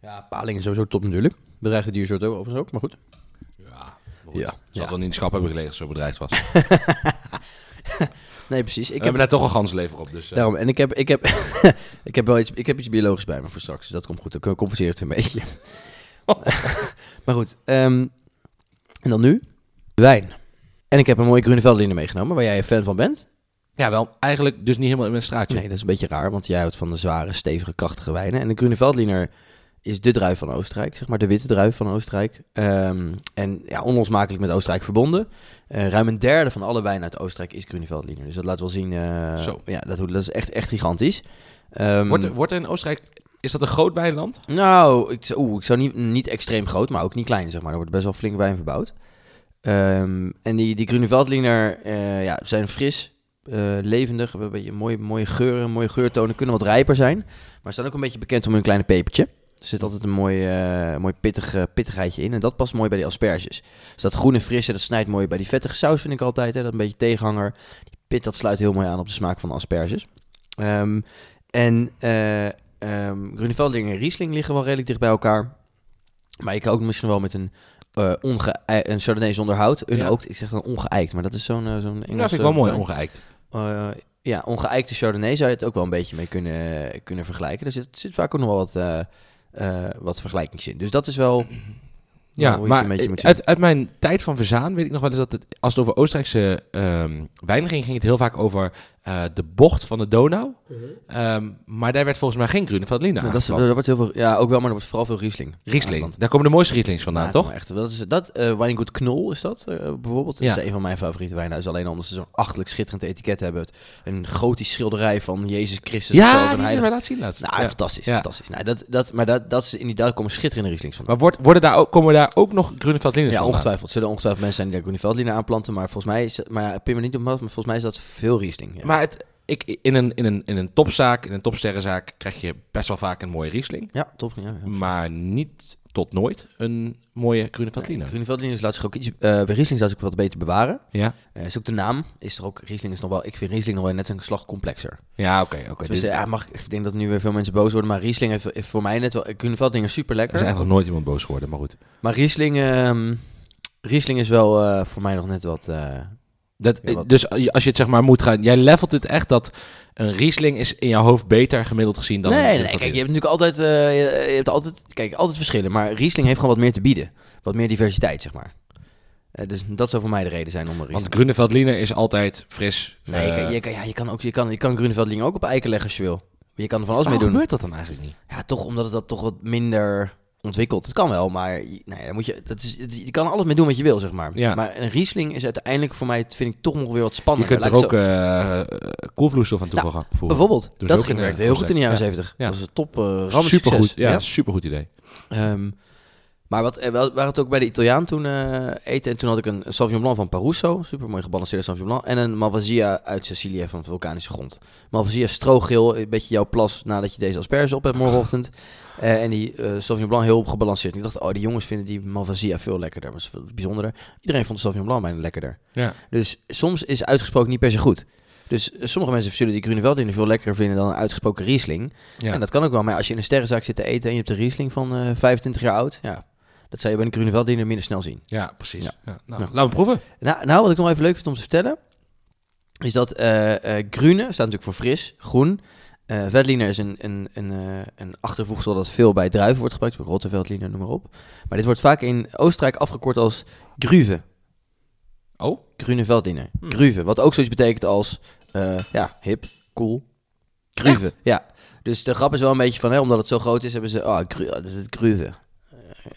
Speaker 2: Ja, paling is sowieso top natuurlijk. Bedreigde diersoort ook overigens ook, maar goed.
Speaker 1: Ja,
Speaker 2: Ja,
Speaker 1: ja.
Speaker 2: ja.
Speaker 1: Zal wel niet in de schap hebben gelegen als zo'n bedrijf was. Ik
Speaker 2: Nee, precies. Ik
Speaker 1: heb
Speaker 2: heb,
Speaker 1: er net toch een ganslever op, dus... eh,
Speaker 2: daarom, en ik heb, ik, heb, ik heb wel iets, ik heb iets biologisch bij me voor straks, dus dat komt goed. Dan compenseer ik het een beetje. maar goed, ehm, en dan nu, wijn. En ik heb een mooie Grunevelderliner meegenomen, waar jij een fan van bent.
Speaker 1: Ja, wel. Eigenlijk dus niet helemaal in mijn straatje.
Speaker 2: Nee, dat is een beetje raar, want jij houdt van de zware, stevige, krachtige wijnen. En de Grunevelderliner is de druif van Oostenrijk, zeg maar de witte druif van Oostenrijk. Ehm, en ja, onlosmakelijk met Oostenrijk verbonden. Eh, ruim een derde van alle wijn uit Oostenrijk is Grunevelderliner. Dus dat laat wel zien, eh,
Speaker 1: Zo.
Speaker 2: Ja, dat, hoe- dat is echt, echt gigantisch. Ehm,
Speaker 1: Wordt, er- wordt er in Oostenrijk... Is dat een groot wijnland?
Speaker 2: nou, ik, zou- oeh, ik zou niet, niet extreem groot, maar ook niet klein, zeg maar. Er wordt best wel flink wijn verbouwd. Ehm, en die, die Gruneveltliner eh, ja, zijn fris, eh, levendig, hebben een beetje mooie, mooie geuren, mooie geurtonen, kunnen wat rijper zijn. Maar staan ook een beetje bekend om hun kleine pepertje. Er zit altijd een mooi, eh, mooi pittig, eh, pittigheidje in en dat past mooi bij die asperges. Dus dat groene frisse, dat snijdt mooi bij die vettige saus, vind ik altijd. Hè? Dat een beetje tegenhanger. Die pit, dat sluit heel mooi aan op de smaak van de asperges. Ehm, en eh, Ehm Grunewalding en Riesling liggen wel redelijk dicht bij elkaar. Maar ik ook misschien wel met een, eh onge een Chardonnay zonder hout. Een
Speaker 1: Ja.
Speaker 2: ook, ik zeg dan ongeëikt, maar dat is zo'n eh, zo'n Engelse...
Speaker 1: Ja, vind ik wel mooi,
Speaker 2: vertaling.
Speaker 1: ongeëikt.
Speaker 2: Eh, ja, ongeëikte Chardonnay zou je het ook wel een beetje mee kunnen, kunnen vergelijken. Er zit, zit vaak ook nog wel wat, eh eh, wat vergelijkings in. Dus dat is wel...
Speaker 1: Ja,
Speaker 2: hoe je het
Speaker 1: maar
Speaker 2: een beetje moet zien.
Speaker 1: uit, uit mijn tijd van Verzaan weet ik nog wel eens dat het, als het over Oostenrijkse ehm wijn ging, ging het heel vaak over eh, de bocht van de Donau. Ehm, maar daar werd volgens mij geen Grunewaldliner
Speaker 2: Mhm. Nou,
Speaker 1: nou,
Speaker 2: dat is, er wordt heel veel, ja, ook wel, maar er wordt vooral veel Riesling.
Speaker 1: Riesling.
Speaker 2: Aangeland.
Speaker 1: daar komen de mooiste Rieslings vandaan,
Speaker 2: Ja,
Speaker 1: toch?
Speaker 2: Echt, dat is dat. eh Weingut Knol is dat eh, bijvoorbeeld. Dat
Speaker 1: Ja.
Speaker 2: is een van mijn favoriete wijnhuizen. Alleen omdat ze zo'n achterlijk schitterend etiket hebben. Het- Een gotisch schilderij van Jezus Christus.
Speaker 1: Ja,
Speaker 2: groot
Speaker 1: die
Speaker 2: en
Speaker 1: hebben
Speaker 2: heilig.
Speaker 1: wij laten zien laatst.
Speaker 2: Nou,
Speaker 1: Ja.
Speaker 2: fantastisch.
Speaker 1: Ja.
Speaker 2: fantastisch. Nou, dat, dat, maar dat, dat is inderdaad komen schitterende Rieslings van.
Speaker 1: Maar wordt, worden daar ook, komen daar ook nog Grunewaldliners
Speaker 2: Ja,
Speaker 1: vandaan?
Speaker 2: ongetwijfeld. Zullen ongetwijfeld mensen zijn die daar Groeneveldliner aanplanten. Maar volgens mij, is, maar ja, pin me niet op mijn hoofd, maar volgens mij is dat veel Riesling. Ja.
Speaker 1: Maar het, ik, in, een, in, een, in een topzaak, in een topsterrenzaak, krijg je best wel vaak een mooie Riesling.
Speaker 2: ja, top. Ja, ja.
Speaker 1: Maar niet tot nooit een mooie Grunewaldliner.
Speaker 2: Groeneveldliner laat zich ook iets, eh Riesling zou zich wat beter bewaren.
Speaker 1: Ja,
Speaker 2: Eh is ook de naam, is er ook, Riesling is nog wel, ik vind Riesling nog wel net een slag complexer.
Speaker 1: ja oké. oké. Dit-
Speaker 2: Tenminste, ja, mag, ik- ik denk dat nu weer veel mensen boos worden, maar Riesling heeft, heeft voor mij net wel... eh, Grunewalddingen is super
Speaker 1: er is
Speaker 2: lekker,
Speaker 1: eigenlijk nog nooit iemand boos geworden, maar goed.
Speaker 2: maar Riesling, ehm, Riesling is wel eh, voor mij nog net wat... eh,
Speaker 1: Dat,
Speaker 2: Ja, wat-
Speaker 1: dus als je het zeg maar moet gaan, jij levelt het echt dat een Riesling is in jouw hoofd beter gemiddeld gezien dan een
Speaker 2: nee, nee,
Speaker 1: Grunewald
Speaker 2: kijk, je hebt natuurlijk altijd, eh, je- je hebt altijd, kijk, altijd verschillen, maar Riesling heeft gewoon wat meer te bieden. Wat meer diversiteit, zeg maar. Eh, dus dat zou voor mij de reden zijn om een Riesling...
Speaker 1: Want Grunewaldliner is altijd fris.
Speaker 2: nee, je,
Speaker 1: eh,
Speaker 2: kan, je, kan, ja, je kan ook, je kan, je kan Grunewaldling ook op eiken leggen als je wil. Je kan er van alles mee
Speaker 1: waarom
Speaker 2: doen.
Speaker 1: Oh, gebeurt dat dan eigenlijk niet?
Speaker 2: Ja, toch omdat het dat toch wat minder ontwikkelt. Het kan wel, maar je- nou ja, dan moet je, dat is, het- je kan er alles mee doen wat je wil, zeg maar.
Speaker 1: Ja.
Speaker 2: Maar een Riesling is uiteindelijk voor mij, vind ik, toch nog weer wat
Speaker 1: Je
Speaker 2: spannender.
Speaker 1: kunt er
Speaker 2: Laat ik
Speaker 1: ook
Speaker 2: zo- Nou,
Speaker 1: eh eh, koelvloeistof aan toevoegen. voegen.
Speaker 2: bijvoorbeeld,
Speaker 1: ze
Speaker 2: dat
Speaker 1: ook
Speaker 2: ging
Speaker 1: in, eh,
Speaker 2: werkte heel goed in de jaren
Speaker 1: ja.
Speaker 2: 70.
Speaker 1: Ja.
Speaker 2: Dat was een top eh rammend
Speaker 1: Supergoed,
Speaker 2: succes.
Speaker 1: ja, supergoed idee.
Speaker 2: Ehm, maar wat, eh, wel- waar het ook bij de Italiaan toen eh, eten. En toen had ik een Sauvignon Blanc van Paruso. Super mooi gebalanceerde Sauvignon Blanc. En een Malvasia uit Sicilië van vulkanische grond. Malvasia strogeel. Een beetje jouw plas nadat je deze asperges op hebt morgenochtend. Eh, en die eh Sauvignon Blanc heel gebalanceerd. En ik dacht, oh, die jongens vinden die Malvasia veel lekkerder. Maar dat is veel bijzonderder. Iedereen vond de Sauvignon Blanc bijna lekkerder.
Speaker 1: Ja.
Speaker 2: Dus soms is uitgesproken niet per se goed. Dus eh, sommige mensen zullen die Grunewaldiner veel lekkerder vinden dan een uitgesproken Riesling.
Speaker 1: Ja.
Speaker 2: En dat kan ook wel. Maar als je in een sterrenzaak zit te eten en je hebt een Riesling van eh, 25 jaar oud, ja, dat zou je bij een Grunewaldiner minder snel zien.
Speaker 1: Ja, precies.
Speaker 2: Ja.
Speaker 1: Ja. Nou,
Speaker 2: Nou.
Speaker 1: Laten we proeven.
Speaker 2: Nou, nou, wat ik nog even leuk vind om te vertellen, is dat eh eh, Grune staat natuurlijk voor fris, groen. Eh Veltliner is een, een, een, eh, een achtervoegsel dat veel bij druiven wordt gebruikt, bij Rotteveldliner, noem maar op. Maar dit wordt vaak in Oostenrijk afgekort als Gruve.
Speaker 1: Oh,
Speaker 2: Grune Veldliner.
Speaker 1: Hmm.
Speaker 2: Gruve. Wat ook zoiets betekent als eh, ja, hip, cool. oh, Gruve. Ja. Dus de grap is wel een beetje van, hè, omdat het zo groot is, hebben ze. Ah, gru- ah, dat is het Gruve. Eh,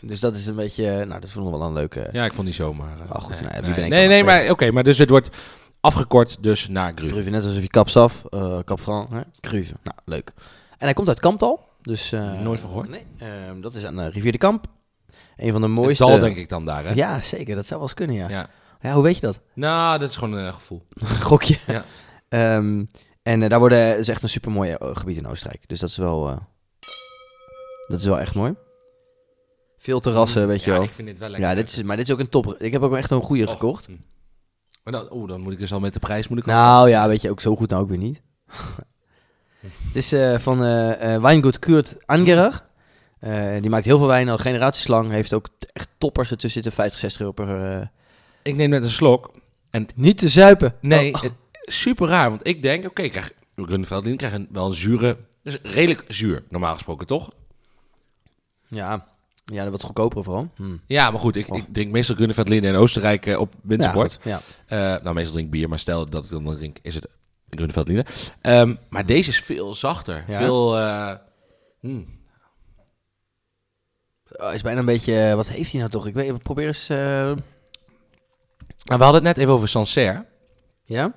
Speaker 2: Dus dat is een beetje, eh, nou, dat vonden we wel een leuke...
Speaker 1: Ja, ik vond die zomaar. eh,
Speaker 2: Ah, goed,
Speaker 1: nee,
Speaker 2: nou ja, wie
Speaker 1: nee,
Speaker 2: ben ik
Speaker 1: nee,
Speaker 2: dan?
Speaker 1: nee, maar oké, maar dus het wordt afgekort dus naar Gruve.
Speaker 2: Gruven, net alsof je kaps af, eh kap Fran, hè? Gruven. Nou, leuk. En hij komt uit Kamptal, dus... eh,
Speaker 1: Nooit van gehoord.
Speaker 2: Nee, ehm, dat is aan de rivier de Kamp. Een van de
Speaker 1: Het
Speaker 2: mooiste...
Speaker 1: Dal denk ik dan daar, hè?
Speaker 2: Ja, zeker. Dat zou wel eens kunnen, ja.
Speaker 1: Ja.
Speaker 2: Ja, hoe weet je dat?
Speaker 1: Nou, dat is gewoon een eh, gevoel.
Speaker 2: Gokje.
Speaker 1: Ja.
Speaker 2: Ehm, en eh, daar worden, is echt een supermooi eh, gebied in Oostenrijk. Dus dat is wel, eh, dat is wel echt mooi. Veel terrassen, weet je
Speaker 1: Mm, ja,
Speaker 2: wel.
Speaker 1: ik vind dit wel lekker.
Speaker 2: Ja, dit is, maar dit is ook een top. Ik heb ook echt een goede
Speaker 1: Och.
Speaker 2: gekocht.
Speaker 1: Hm. Maar dan, oeh, dan moet ik dus al met de prijs moet ik al-
Speaker 2: Nou ja, weet je, ook zo goed nou ook weer niet. het is eh, van eh eh Weingut Kurt Angerer. Eh, die maakt heel veel wijn al generatieslang. Heeft ook t- echt toppers ertussen zitten. 50, 60 euro per... eh,
Speaker 1: Ik neem net een slok.
Speaker 2: niet te zuipen.
Speaker 1: Nee,
Speaker 2: Oh,
Speaker 1: het- super raar. Want ik denk, oké, ik krijg Runveldin krijg een, wel een zure... Dus redelijk zuur, normaal gesproken, toch?
Speaker 2: Ja. ja, wat goedkoper vooral. Hm.
Speaker 1: Ja, maar goed, ik,
Speaker 2: Oh.
Speaker 1: ik drink meestal Runveldin in Oostenrijk eh, op wintersport.
Speaker 2: Ja, goed, ja.
Speaker 1: Eh, nou, meestal drink ik bier, maar stel dat ik dan drink, is het Grunewaldliner. Ehm maar deze is veel zachter.
Speaker 2: Ja?
Speaker 1: Veel. eh, hmm.
Speaker 2: Oh, is bijna een beetje... eh, Wat heeft hij nou toch? Ik weet, probeer eens... eh,
Speaker 1: Nou, we hadden het net even over Sancerre.
Speaker 2: ja?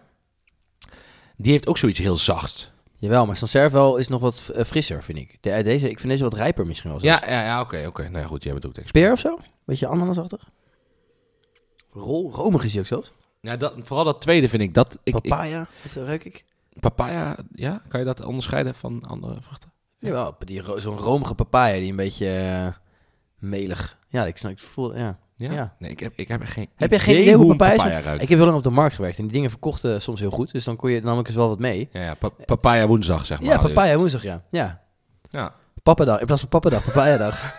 Speaker 1: Die heeft ook zoiets heel zacht.
Speaker 2: Jawel, maar Sancerre wel is nog wat eh, frisser, vind ik. De- eh, deze, ik vind deze wat rijper misschien wel. zelfs.
Speaker 1: Ja, ja, ja oké, oké. Nou ja, goed, jij bent ook de expert.
Speaker 2: Peer of zo? Beetje ananasachtig. Rol, romig is hij ook zelfs.
Speaker 1: Ja, dat, vooral dat tweede vind ik dat. Ik, ik-
Speaker 2: Papaya, dat ruik ik.
Speaker 1: papaya, ja, kan je dat onderscheiden van andere vruchten?
Speaker 2: Jawel, die ro- zo'n romige papaya die een beetje eh, melig. Ja, ik snap, ik voel, ja.
Speaker 1: Ja.
Speaker 2: Ja.
Speaker 1: Nee, ik heb, ik heb geen.
Speaker 2: Heb je geen idee hoe
Speaker 1: een
Speaker 2: papaya is?
Speaker 1: ruikt?
Speaker 2: Ik heb heel lang op de markt gewerkt en die dingen verkochten soms heel goed. Dus dan kon je namelijk eens wel wat mee.
Speaker 1: Ja, ja pa- papaya woensdag zeg maar.
Speaker 2: Ja,
Speaker 1: hadden
Speaker 2: papaya woensdag, ja. Ja,
Speaker 1: jullie. Ja.
Speaker 2: papadag. In plaats van papadag, papayadag.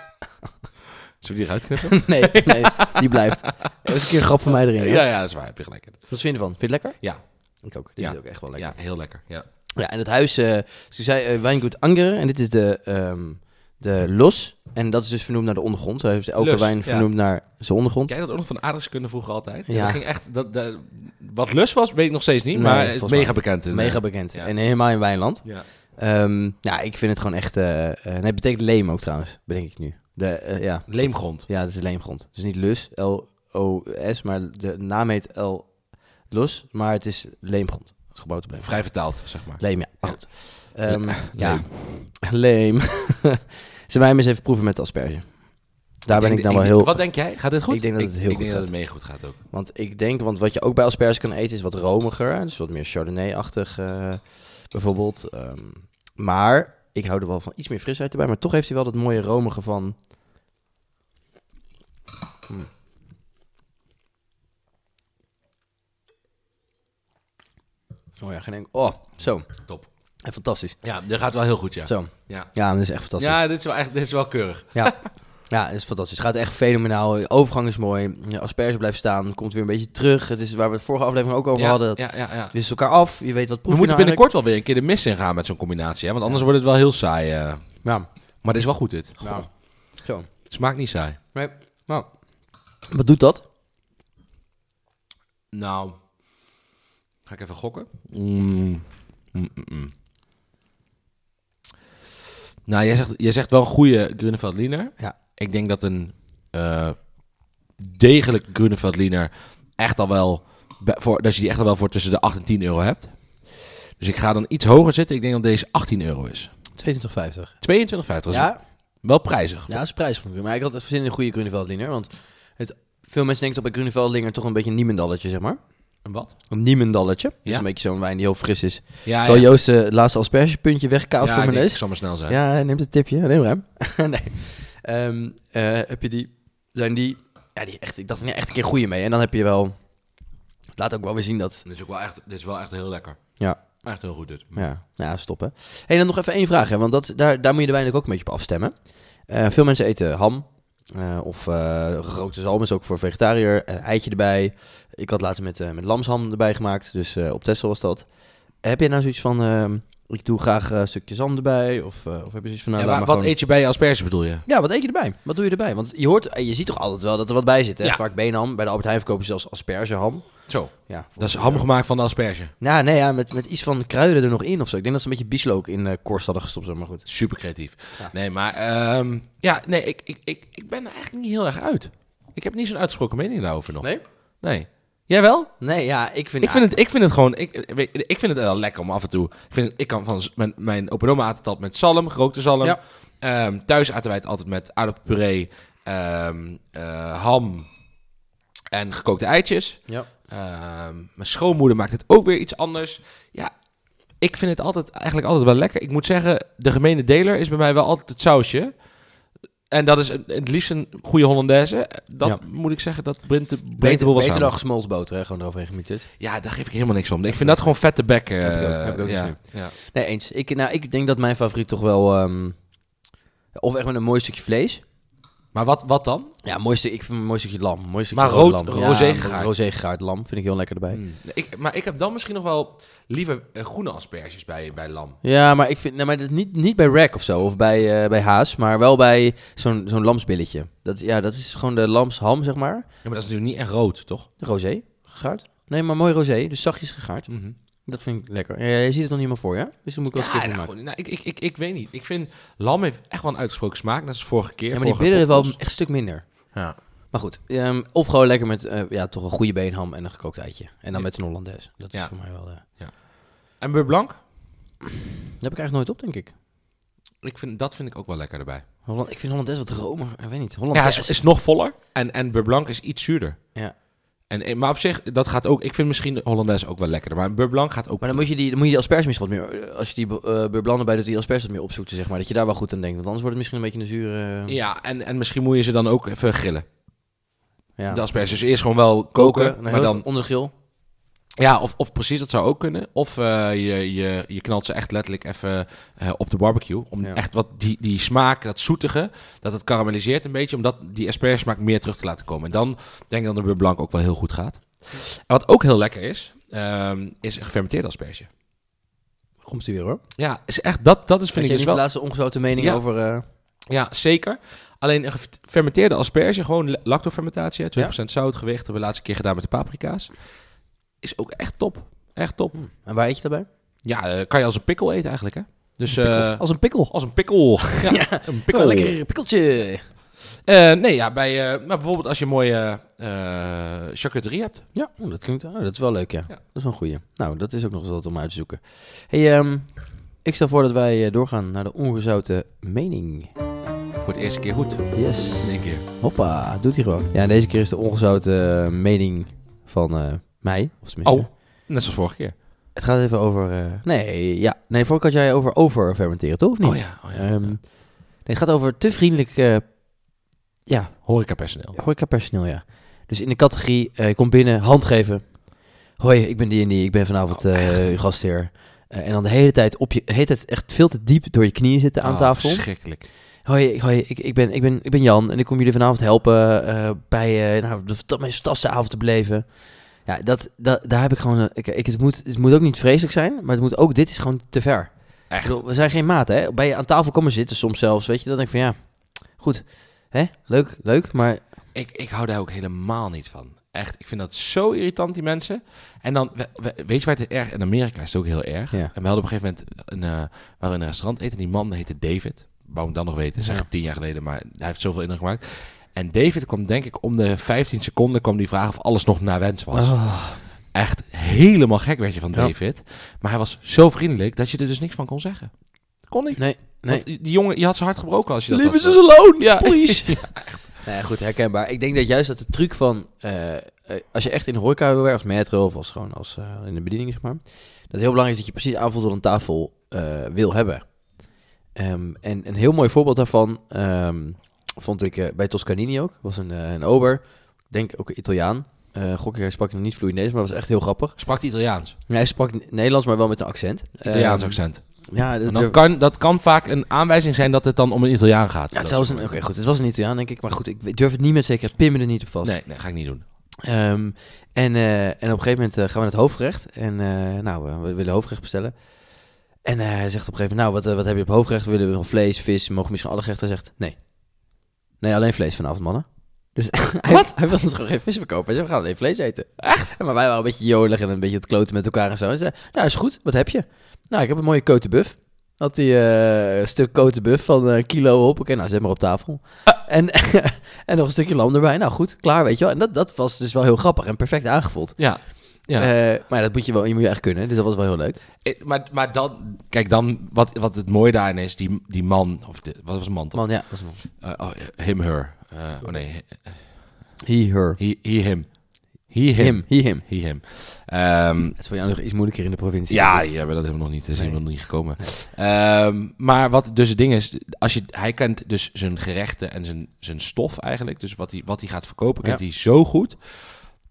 Speaker 1: Zullen we die eruit knippen?
Speaker 2: nee, nee, die blijft. Dat is een keer een grap van mij erin.
Speaker 1: ja,
Speaker 2: Ja.
Speaker 1: ja, dat is waar. Heb je gelijk. in.
Speaker 2: Wat vind je ervan? Vind je het lekker?
Speaker 1: Ja.
Speaker 2: Ik ook. Dit
Speaker 1: Ja.
Speaker 2: is ook echt wel lekker.
Speaker 1: Ja, heel lekker. Ja.
Speaker 2: Ja, en het huis, eh zoals ik zei, eh, Weingut Angeren. En dit is de, ehm, de Los. En dat is dus vernoemd naar de ondergrond. Hij heeft elke
Speaker 1: Lus, ja.
Speaker 2: wijn vernoemd naar zijn ondergrond.
Speaker 1: Jij dat ook nog van aardrijkskunde vroeger altijd?
Speaker 2: Ja.
Speaker 1: Dat ging echt, dat, dat- wat lus was, weet ik nog steeds niet,
Speaker 2: Nee,
Speaker 1: maar het
Speaker 2: volgens
Speaker 1: is
Speaker 2: mij
Speaker 1: mega bekend. in,
Speaker 2: Mega bekend.
Speaker 1: eh, ja.
Speaker 2: En helemaal in Wijnland.
Speaker 1: eh, ja.
Speaker 2: Ehm, ja, ik vind het gewoon echt... eh, eh, nee, het betekent leem ook trouwens, bedenk ik nu. De, eh, ja.
Speaker 1: Leemgrond.
Speaker 2: ja, het is leemgrond. Dus niet Lus, L-O-S, maar de naam heet L Los, maar het is leemgrond. Dat is gebouwd op leem.
Speaker 1: Vrij vertaald, zeg maar.
Speaker 2: Leem, ja. Maar
Speaker 1: Ja.
Speaker 2: goed. Ehm, ja.
Speaker 1: Leem.
Speaker 2: Leem. Zijn wij hem eens even proeven met de asperge? Daar ben
Speaker 1: denk-
Speaker 2: ik dan wel heel...
Speaker 1: Wat denk jij? Gaat dit goed?
Speaker 2: Ik denk dat het heel
Speaker 1: ik
Speaker 2: goed
Speaker 1: denk dat
Speaker 2: gaat.
Speaker 1: het mega goed gaat ook.
Speaker 2: Want ik denk, want wat je ook bij asperges kan eten is wat romiger. Dus wat meer chardonnay-achtig eh, bijvoorbeeld. Ehm, maar ik hou er wel van iets meer frisheid erbij. Maar toch heeft hij wel dat mooie romige van... Hm. Oh ja, geen enkel... Oh, zo.
Speaker 1: Top.
Speaker 2: En fantastisch.
Speaker 1: Ja, dit gaat wel heel goed, ja.
Speaker 2: Zo.
Speaker 1: Ja.
Speaker 2: Ja, dat is echt fantastisch.
Speaker 1: Ja, dit is wel, echt, dit is wel keurig.
Speaker 2: Ja, ja het is fantastisch. Het gaat echt fenomenaal. De overgang is mooi. Ja, Asperge blijft staan. Komt weer een beetje terug. Het is waar we het vorige aflevering ook over
Speaker 1: ja,
Speaker 2: hadden.
Speaker 1: Ja, ja, ja.
Speaker 2: Het wisselt elkaar af. Je weet wat
Speaker 1: We
Speaker 2: proef je
Speaker 1: moeten
Speaker 2: nou
Speaker 1: binnenkort wel weer een keer de mist in gaan met zo'n combinatie, hè? want anders wordt het wel heel saai. eh.
Speaker 2: eigenlijk-
Speaker 1: Maar dit is wel goed, dit.
Speaker 2: Ja, ja. Zo.
Speaker 1: Het smaakt niet saai.
Speaker 2: Nee. Nou. Wat doet dat?
Speaker 1: Nou, ga ik even gokken. Mm, mm, mm, mm. Nou, jij zegt, jij zegt wel een goede Grunewaldliner.
Speaker 2: Ja.
Speaker 1: Ik denk dat een eh, degelijk Grunewaldliner echt al wel... be- Voor, dat je die echt al wel voor tussen de 8 en 10 euro hebt. Dus ik ga dan iets hoger zitten. Ik denk dat deze 18 euro is.
Speaker 2: 22,50.
Speaker 1: 22,50. Dat is
Speaker 2: Ja,
Speaker 1: wel prijzig.
Speaker 2: ja, dat is prijs van Maar ik had het zin in een goede Gruneveldlinger. Want het, veel mensen denken dat bij Gruneveldlinger toch een beetje een niemendalletje, zeg maar.
Speaker 1: En wat?
Speaker 2: Een niemendalletje. Dus
Speaker 1: Ja. Ah,
Speaker 2: een beetje zo'n wijn die heel fris is.
Speaker 1: Ja,
Speaker 2: Zal Joost eh, het laatste aspergepuntje wegkauwen
Speaker 1: ja,
Speaker 2: voor
Speaker 1: ik
Speaker 2: mijn neus?
Speaker 1: denk, ik zal maar snel zijn.
Speaker 2: Ja, hij neemt het tipje. Neem ruim. nee. Ehm, eh, heb je die... Zijn die... Ja, die echt, ik dacht er niet echt een keer goeie mee. En dan heb je wel... Het laat ook wel weer zien dat...
Speaker 1: Dit, is ook wel echt, dit is wel echt heel lekker.
Speaker 2: Ja.
Speaker 1: Echt heel goed dit.
Speaker 2: Ja, ja stoppen. Hé, hey, dan nog even één vraag. Hè, want dat, daar, daar moet je de wijn ook een beetje op afstemmen. Eh, veel mensen eten ham. eh, of eh gerookte zalm is ook voor vegetariër. Een eitje erbij. Ik had laatst met, eh, met lamsham erbij gemaakt. Dus eh, op Tessel was dat. Heb je nou zoiets van... ehm, Ik doe graag eh, een stukje zalm erbij. Of, eh, of heb je zoiets van... Nou,
Speaker 1: Ja,
Speaker 2: laat maar
Speaker 1: maar wat
Speaker 2: gewoon-
Speaker 1: eet je bij je asperges bedoel je?
Speaker 2: Ja, wat eet je erbij? Wat doe je erbij? Want je hoort, en je ziet toch altijd wel dat er wat bij zit. Hè?
Speaker 1: Ja.
Speaker 2: Vaak beenham. Bij de Albert Heijn verkopen ze zelfs aspergeham.
Speaker 1: Zo,
Speaker 2: Ja,
Speaker 1: dat is ham gemaakt van de asperge.
Speaker 2: Nou, nee, ja, met, met iets van kruiden er nog in of zo. Ik denk dat ze een beetje bieslook in eh korst hadden gestopt, zeg maar goed.
Speaker 1: Super creatief.
Speaker 2: Ja.
Speaker 1: Nee, maar ehm, ja, nee, ik, ik, ik, ik ben er eigenlijk niet heel erg uit. Ik heb niet zo'n uitgesproken mening daarover nog.
Speaker 2: Nee?
Speaker 1: Nee. Jij wel?
Speaker 2: Nee, ja, ik vind...
Speaker 1: Ik vind, het, ik vind het gewoon, ik, ik ik vind het wel lekker om af en toe. Ik, vind, ik kan van z- mijn, mijn open oma aten het altijd met zalm, gerookte zalm.
Speaker 2: Ja.
Speaker 1: Ehm, thuis aten wij het altijd met aardappelpuree, ehm, eh, ham en gekookte eitjes.
Speaker 2: Ja.
Speaker 1: Ehm, mijn schoonmoeder maakt het ook weer iets anders. Ja, ik vind het altijd, eigenlijk altijd wel lekker. Ik moet zeggen, de gemene deler is bij mij wel altijd het sausje. En dat is een- het liefst een goede Hollandaise. Dat
Speaker 2: Ja.
Speaker 1: moet ik zeggen, dat brengt de, brengt de
Speaker 2: Beter,
Speaker 1: boel wel
Speaker 2: beter
Speaker 1: samen.
Speaker 2: dan gesmolten boter, hè? Gewoon eroverheen gemieterd.
Speaker 1: Ja, daar geef ik helemaal niks om. Ik vind dat gewoon vette bekken.
Speaker 2: Heb ik ook- heb ik ook
Speaker 1: ja.
Speaker 2: gezien.
Speaker 1: Ja.
Speaker 2: Nee, eens. Ik, nou, ik denk dat mijn favoriet toch wel... ehm, of echt met een mooi stukje vlees.
Speaker 1: Maar wat, wat dan?
Speaker 2: Ja, mooi stuk, ik vind een mooi stukje lam. Mooi stukje
Speaker 1: Maar
Speaker 2: rode
Speaker 1: rood-
Speaker 2: lam.
Speaker 1: rosé
Speaker 2: Ja,
Speaker 1: gegaard.
Speaker 2: Rosé gegaard lam vind ik heel lekker erbij.
Speaker 1: Hmm. Ik, maar ik heb dan misschien nog wel liever eh, groene asperges bij, bij lam.
Speaker 2: Ja, maar ik vind... Nee, maar dat is niet, niet bij rack of zo, of bij, eh, bij haas, maar wel bij zo'n zo'n lamsbilletje. Dat, ja, dat is gewoon de lamsham, zeg maar.
Speaker 1: Ja, maar dat is natuurlijk niet echt rood, toch?
Speaker 2: Rosé gegaard. Nee, maar mooi rosé, dus zachtjes gegaard. Dat vind ik lekker. Ja, je ziet het nog niet helemaal voor, ja? Dus dan moet ik wel eens
Speaker 1: Mhm. Ja,
Speaker 2: een keer
Speaker 1: nou,
Speaker 2: van maken.
Speaker 1: goed, nou, ik, ik, ik, ik weet niet. Ik vind lam heeft echt wel een uitgesproken smaak. Dat is vorige keer.
Speaker 2: Ja, maar die
Speaker 1: vorige
Speaker 2: billen wel echt
Speaker 1: podcast.
Speaker 2: een stuk minder.
Speaker 1: Ja.
Speaker 2: Maar goed, ehm, of gewoon lekker met eh, ja, toch een goede beenham en een gekookt eitje. En dan
Speaker 1: Ja.
Speaker 2: met een Hollandaise. Dat
Speaker 1: Ja.
Speaker 2: is voor mij wel... eh
Speaker 1: En beurre blanc?
Speaker 2: dat heb ik eigenlijk nooit op, denk ik.
Speaker 1: Ik vind, dat vind ik ook wel lekker erbij.
Speaker 2: Holland, ik vind Hollandaise wat romer. Ik weet niet.
Speaker 1: Ja,
Speaker 2: Hollandaise.
Speaker 1: is, is nog voller. En, en beurre blanc is iets zuurder.
Speaker 2: Ja.
Speaker 1: En, eh, maar op zich, dat gaat ook... Ik vind misschien de Hollandaise ook wel lekkerder. Maar een beurre blanc gaat ook...
Speaker 2: Maar dan moet je die, dan moet je die asperges misschien wat meer... eh, Als je die eh beurblanden bij doet, die asperges wat meer opzoeken, zeg maar. Dat je daar wel goed aan denkt. Want anders wordt het misschien een beetje een zure... eh,
Speaker 1: Ja, en, en misschien moet je ze dan ook even grillen.
Speaker 2: ja.
Speaker 1: De asperges dus eerst gewoon wel koken,
Speaker 2: dan
Speaker 1: maar
Speaker 2: heel
Speaker 1: dan...
Speaker 2: even Onder de grill.
Speaker 1: Ja, of, of precies, dat zou ook kunnen. Of eh, je, je, je knalt ze echt letterlijk even eh, op de barbecue. Om
Speaker 2: Ja.
Speaker 1: echt wat die, die smaak, dat zoetige, dat het karamelliseert een beetje. Om dat, die aspergesmaak smaak meer terug te laten komen. En dan denk ik dat de beurre blanc ook wel heel goed gaat. En wat ook heel lekker is, ehm, is een gefermenteerd asperge.
Speaker 2: Komt hij weer, hoor.
Speaker 1: Ja, is echt, dat, dat is,
Speaker 2: Vind
Speaker 1: vind ik
Speaker 2: je
Speaker 1: dus
Speaker 2: niet
Speaker 1: wel...
Speaker 2: de laatste ongezouten mening
Speaker 1: Ja.
Speaker 2: over... eh,
Speaker 1: Ja, zeker. Alleen een gefermenteerde asperge, gewoon la- lactofermentatie, hè, 20% zout, gewicht, hebben we de laatste keer gedaan met de paprika's. Is ook echt top. Echt top.
Speaker 2: en waar eet je daarbij?
Speaker 1: Ja, eh, kan je als een pikkel eten eigenlijk, hè? Dus eh,
Speaker 2: Als een pikkel.
Speaker 1: als een pikkel. Ja, een pikkel.
Speaker 2: Oh, lekker pikkeltje.
Speaker 1: Eh, nee, ja, bij, eh, maar bijvoorbeeld als je een mooie eh, charcuterie hebt.
Speaker 2: Ja, oh, dat klinkt oh, dat is wel leuk, ja.
Speaker 1: Ja.
Speaker 2: Dat is wel een goeie. Nou, dat is ook nog eens wat om uit te zoeken. hey, ehm, ik stel voor dat wij eh, doorgaan naar de ongezouten mening.
Speaker 1: Voor het eerste keer goed.
Speaker 2: Yes.
Speaker 1: In één keer.
Speaker 2: Hoppa, doet hij gewoon. Ja, en deze keer is de ongezouten eh, mening van eh, mij. Of tenminste.
Speaker 1: Oh, net zoals vorige keer.
Speaker 2: Het gaat even over... eh, nee, ja. Nee, vorige keer had jij over overfermenteren, toch? Of niet?
Speaker 1: Oh ja, oh ja.
Speaker 2: Ehm, nee, het gaat over te vriendelijk... eh ja,
Speaker 1: Horecapersoneel.
Speaker 2: Horecapersoneel, ja. Dus in de categorie, eh je komt binnen, hand geven. Hoi, ik ben die en die, ik ben vanavond
Speaker 1: Oh,
Speaker 2: eh, uw gastheer. Eh, en dan de hele tijd, op je, de hele tijd echt veel te diep door je knieën zitten aan
Speaker 1: Oh,
Speaker 2: tafel.
Speaker 1: Verschrikkelijk.
Speaker 2: Hoi, ik- hoi ik, ik, ben, ik, ben, ik ben Jan en ik kom jullie vanavond helpen eh, bij eh nou, de, de meest fantastische avond te beleven. Ja, dat, dat, daar heb ik gewoon... eh, Ik, ik, het, moet, het moet ook niet vreselijk zijn, maar het moet ook, dit is gewoon te ver. Ik
Speaker 1: Echt.
Speaker 2: bedoel, we zijn geen maat, hè? Bij je aan tafel komen zitten soms zelfs, weet je. Dan denk ik van, ja, goed. Hè? Leuk, leuk, maar
Speaker 1: Ik, ik hou daar ook helemaal niet van. Echt, ik vind dat zo irritant, die mensen. En dan, we- we- weet je waar het erg... In Amerika is het ook heel erg.
Speaker 2: Ja.
Speaker 1: En we hadden op een gegeven moment... Een, eh, waren we in een restaurant eten. Die man heette David. Wou hem dan nog weten. Dat is
Speaker 2: Ja.
Speaker 1: eigenlijk tien jaar geleden. Maar hij heeft zoveel indruk gemaakt. En David kwam denk ik om de 15 seconden... kwam die vraag of alles nog naar wens was.
Speaker 2: Oh.
Speaker 1: Echt helemaal gek werd je van
Speaker 2: Ja.
Speaker 1: David. Maar hij was zo vriendelijk... dat je er dus niks van kon zeggen. Kon niet.
Speaker 2: Nee, nee.
Speaker 1: Want die jongen, je had zijn hart gebroken als je dat had.
Speaker 2: alone,
Speaker 1: Ja.
Speaker 2: please. Nou ja, goed, herkenbaar. Ik denk dat juist dat de truc van... eh, eh, als je echt in de horeca wil werken, als maître of als gewoon als, eh, in de bediening, zeg maar. Dat het heel belangrijk is dat je precies aanvoelt wat een tafel eh, wil hebben. Ehm, en een heel mooi voorbeeld daarvan ehm, vond ik eh, bij Toscanini ook. was een, eh, een ober, ik denk ook een Italiaan. Eh gok ik, hij sprak nog niet vloeiend Nederlands, maar was echt heel grappig.
Speaker 1: Sprak hij Italiaans.
Speaker 2: Hij sprak Nederlands, maar wel met een accent.
Speaker 1: Italiaans
Speaker 2: Ehm,
Speaker 1: accent.
Speaker 2: Ja, dat-
Speaker 1: En dan kan, dat kan vaak een aanwijzing zijn dat het dan om een Italiaan gaat.
Speaker 2: Ja, het
Speaker 1: Dat
Speaker 2: zelfs
Speaker 1: soort
Speaker 2: een, oké,
Speaker 1: momenten.
Speaker 2: goed. Het was een Italiaan, denk ik. Maar goed, ik durf het niet met zekerheid. Pin me er niet op vast.
Speaker 1: Nee, nee, ga ik niet doen.
Speaker 2: Ehm, en, eh, en op een gegeven moment eh, gaan we naar het hoofdgerecht. En eh, nou, eh, we willen hoofdgerecht bestellen. En eh, hij zegt op een gegeven moment, nou, wat, eh, wat heb je op hoofdgerecht? Willen we nog vlees, vis? Mogen we misschien alle gerechten? Hij zegt, nee. Nee, alleen vlees vanavond, mannen. Dus hij,
Speaker 1: Wat?
Speaker 2: hij wilde ons gewoon geen vis verkopen. Hij zei, we gaan alleen vlees eten. Echt? Maar wij waren een beetje jolig en een beetje het kloten met elkaar en zo. Hij zei, nou, is goed. Wat heb je? Nou, ik heb een mooie kotenbuff. Had hij eh, een stuk kotenbuff van eh, een kilo op. Oké, nou, zet maar op tafel. En, en nog een stukje lam erbij. Nou goed, klaar, weet je wel. En dat, dat was dus wel heel grappig en perfect aangevuld.
Speaker 1: Ja. Ja.
Speaker 2: Eh, maar dat moet je wel, je moet je echt kunnen. Dus dat was wel heel leuk.
Speaker 1: Eh, maar, maar dan, kijk dan, wat, wat het mooie daarin is, die, die man, of de, wat was een man toch?
Speaker 2: Man, ja. was een man.
Speaker 1: Eh, oh, eh, him, her. Eh, oh nee,
Speaker 2: He, her.
Speaker 1: he, he him. He, him.
Speaker 2: Him, he, him.
Speaker 1: He, him. Ehm,
Speaker 2: Het is voor jou nog iets moeilijker in de provincie. Eh,
Speaker 1: ja, ja, maar dat hebben we nog niet. Daar zijn we
Speaker 2: Nee.
Speaker 1: nog niet gekomen. Ehm, maar wat dus het ding is, als je, hij kent dus zijn gerechten en zijn, zijn stof eigenlijk. Dus wat hij, wat hij gaat verkopen, kent
Speaker 2: Ja.
Speaker 1: hij zo goed.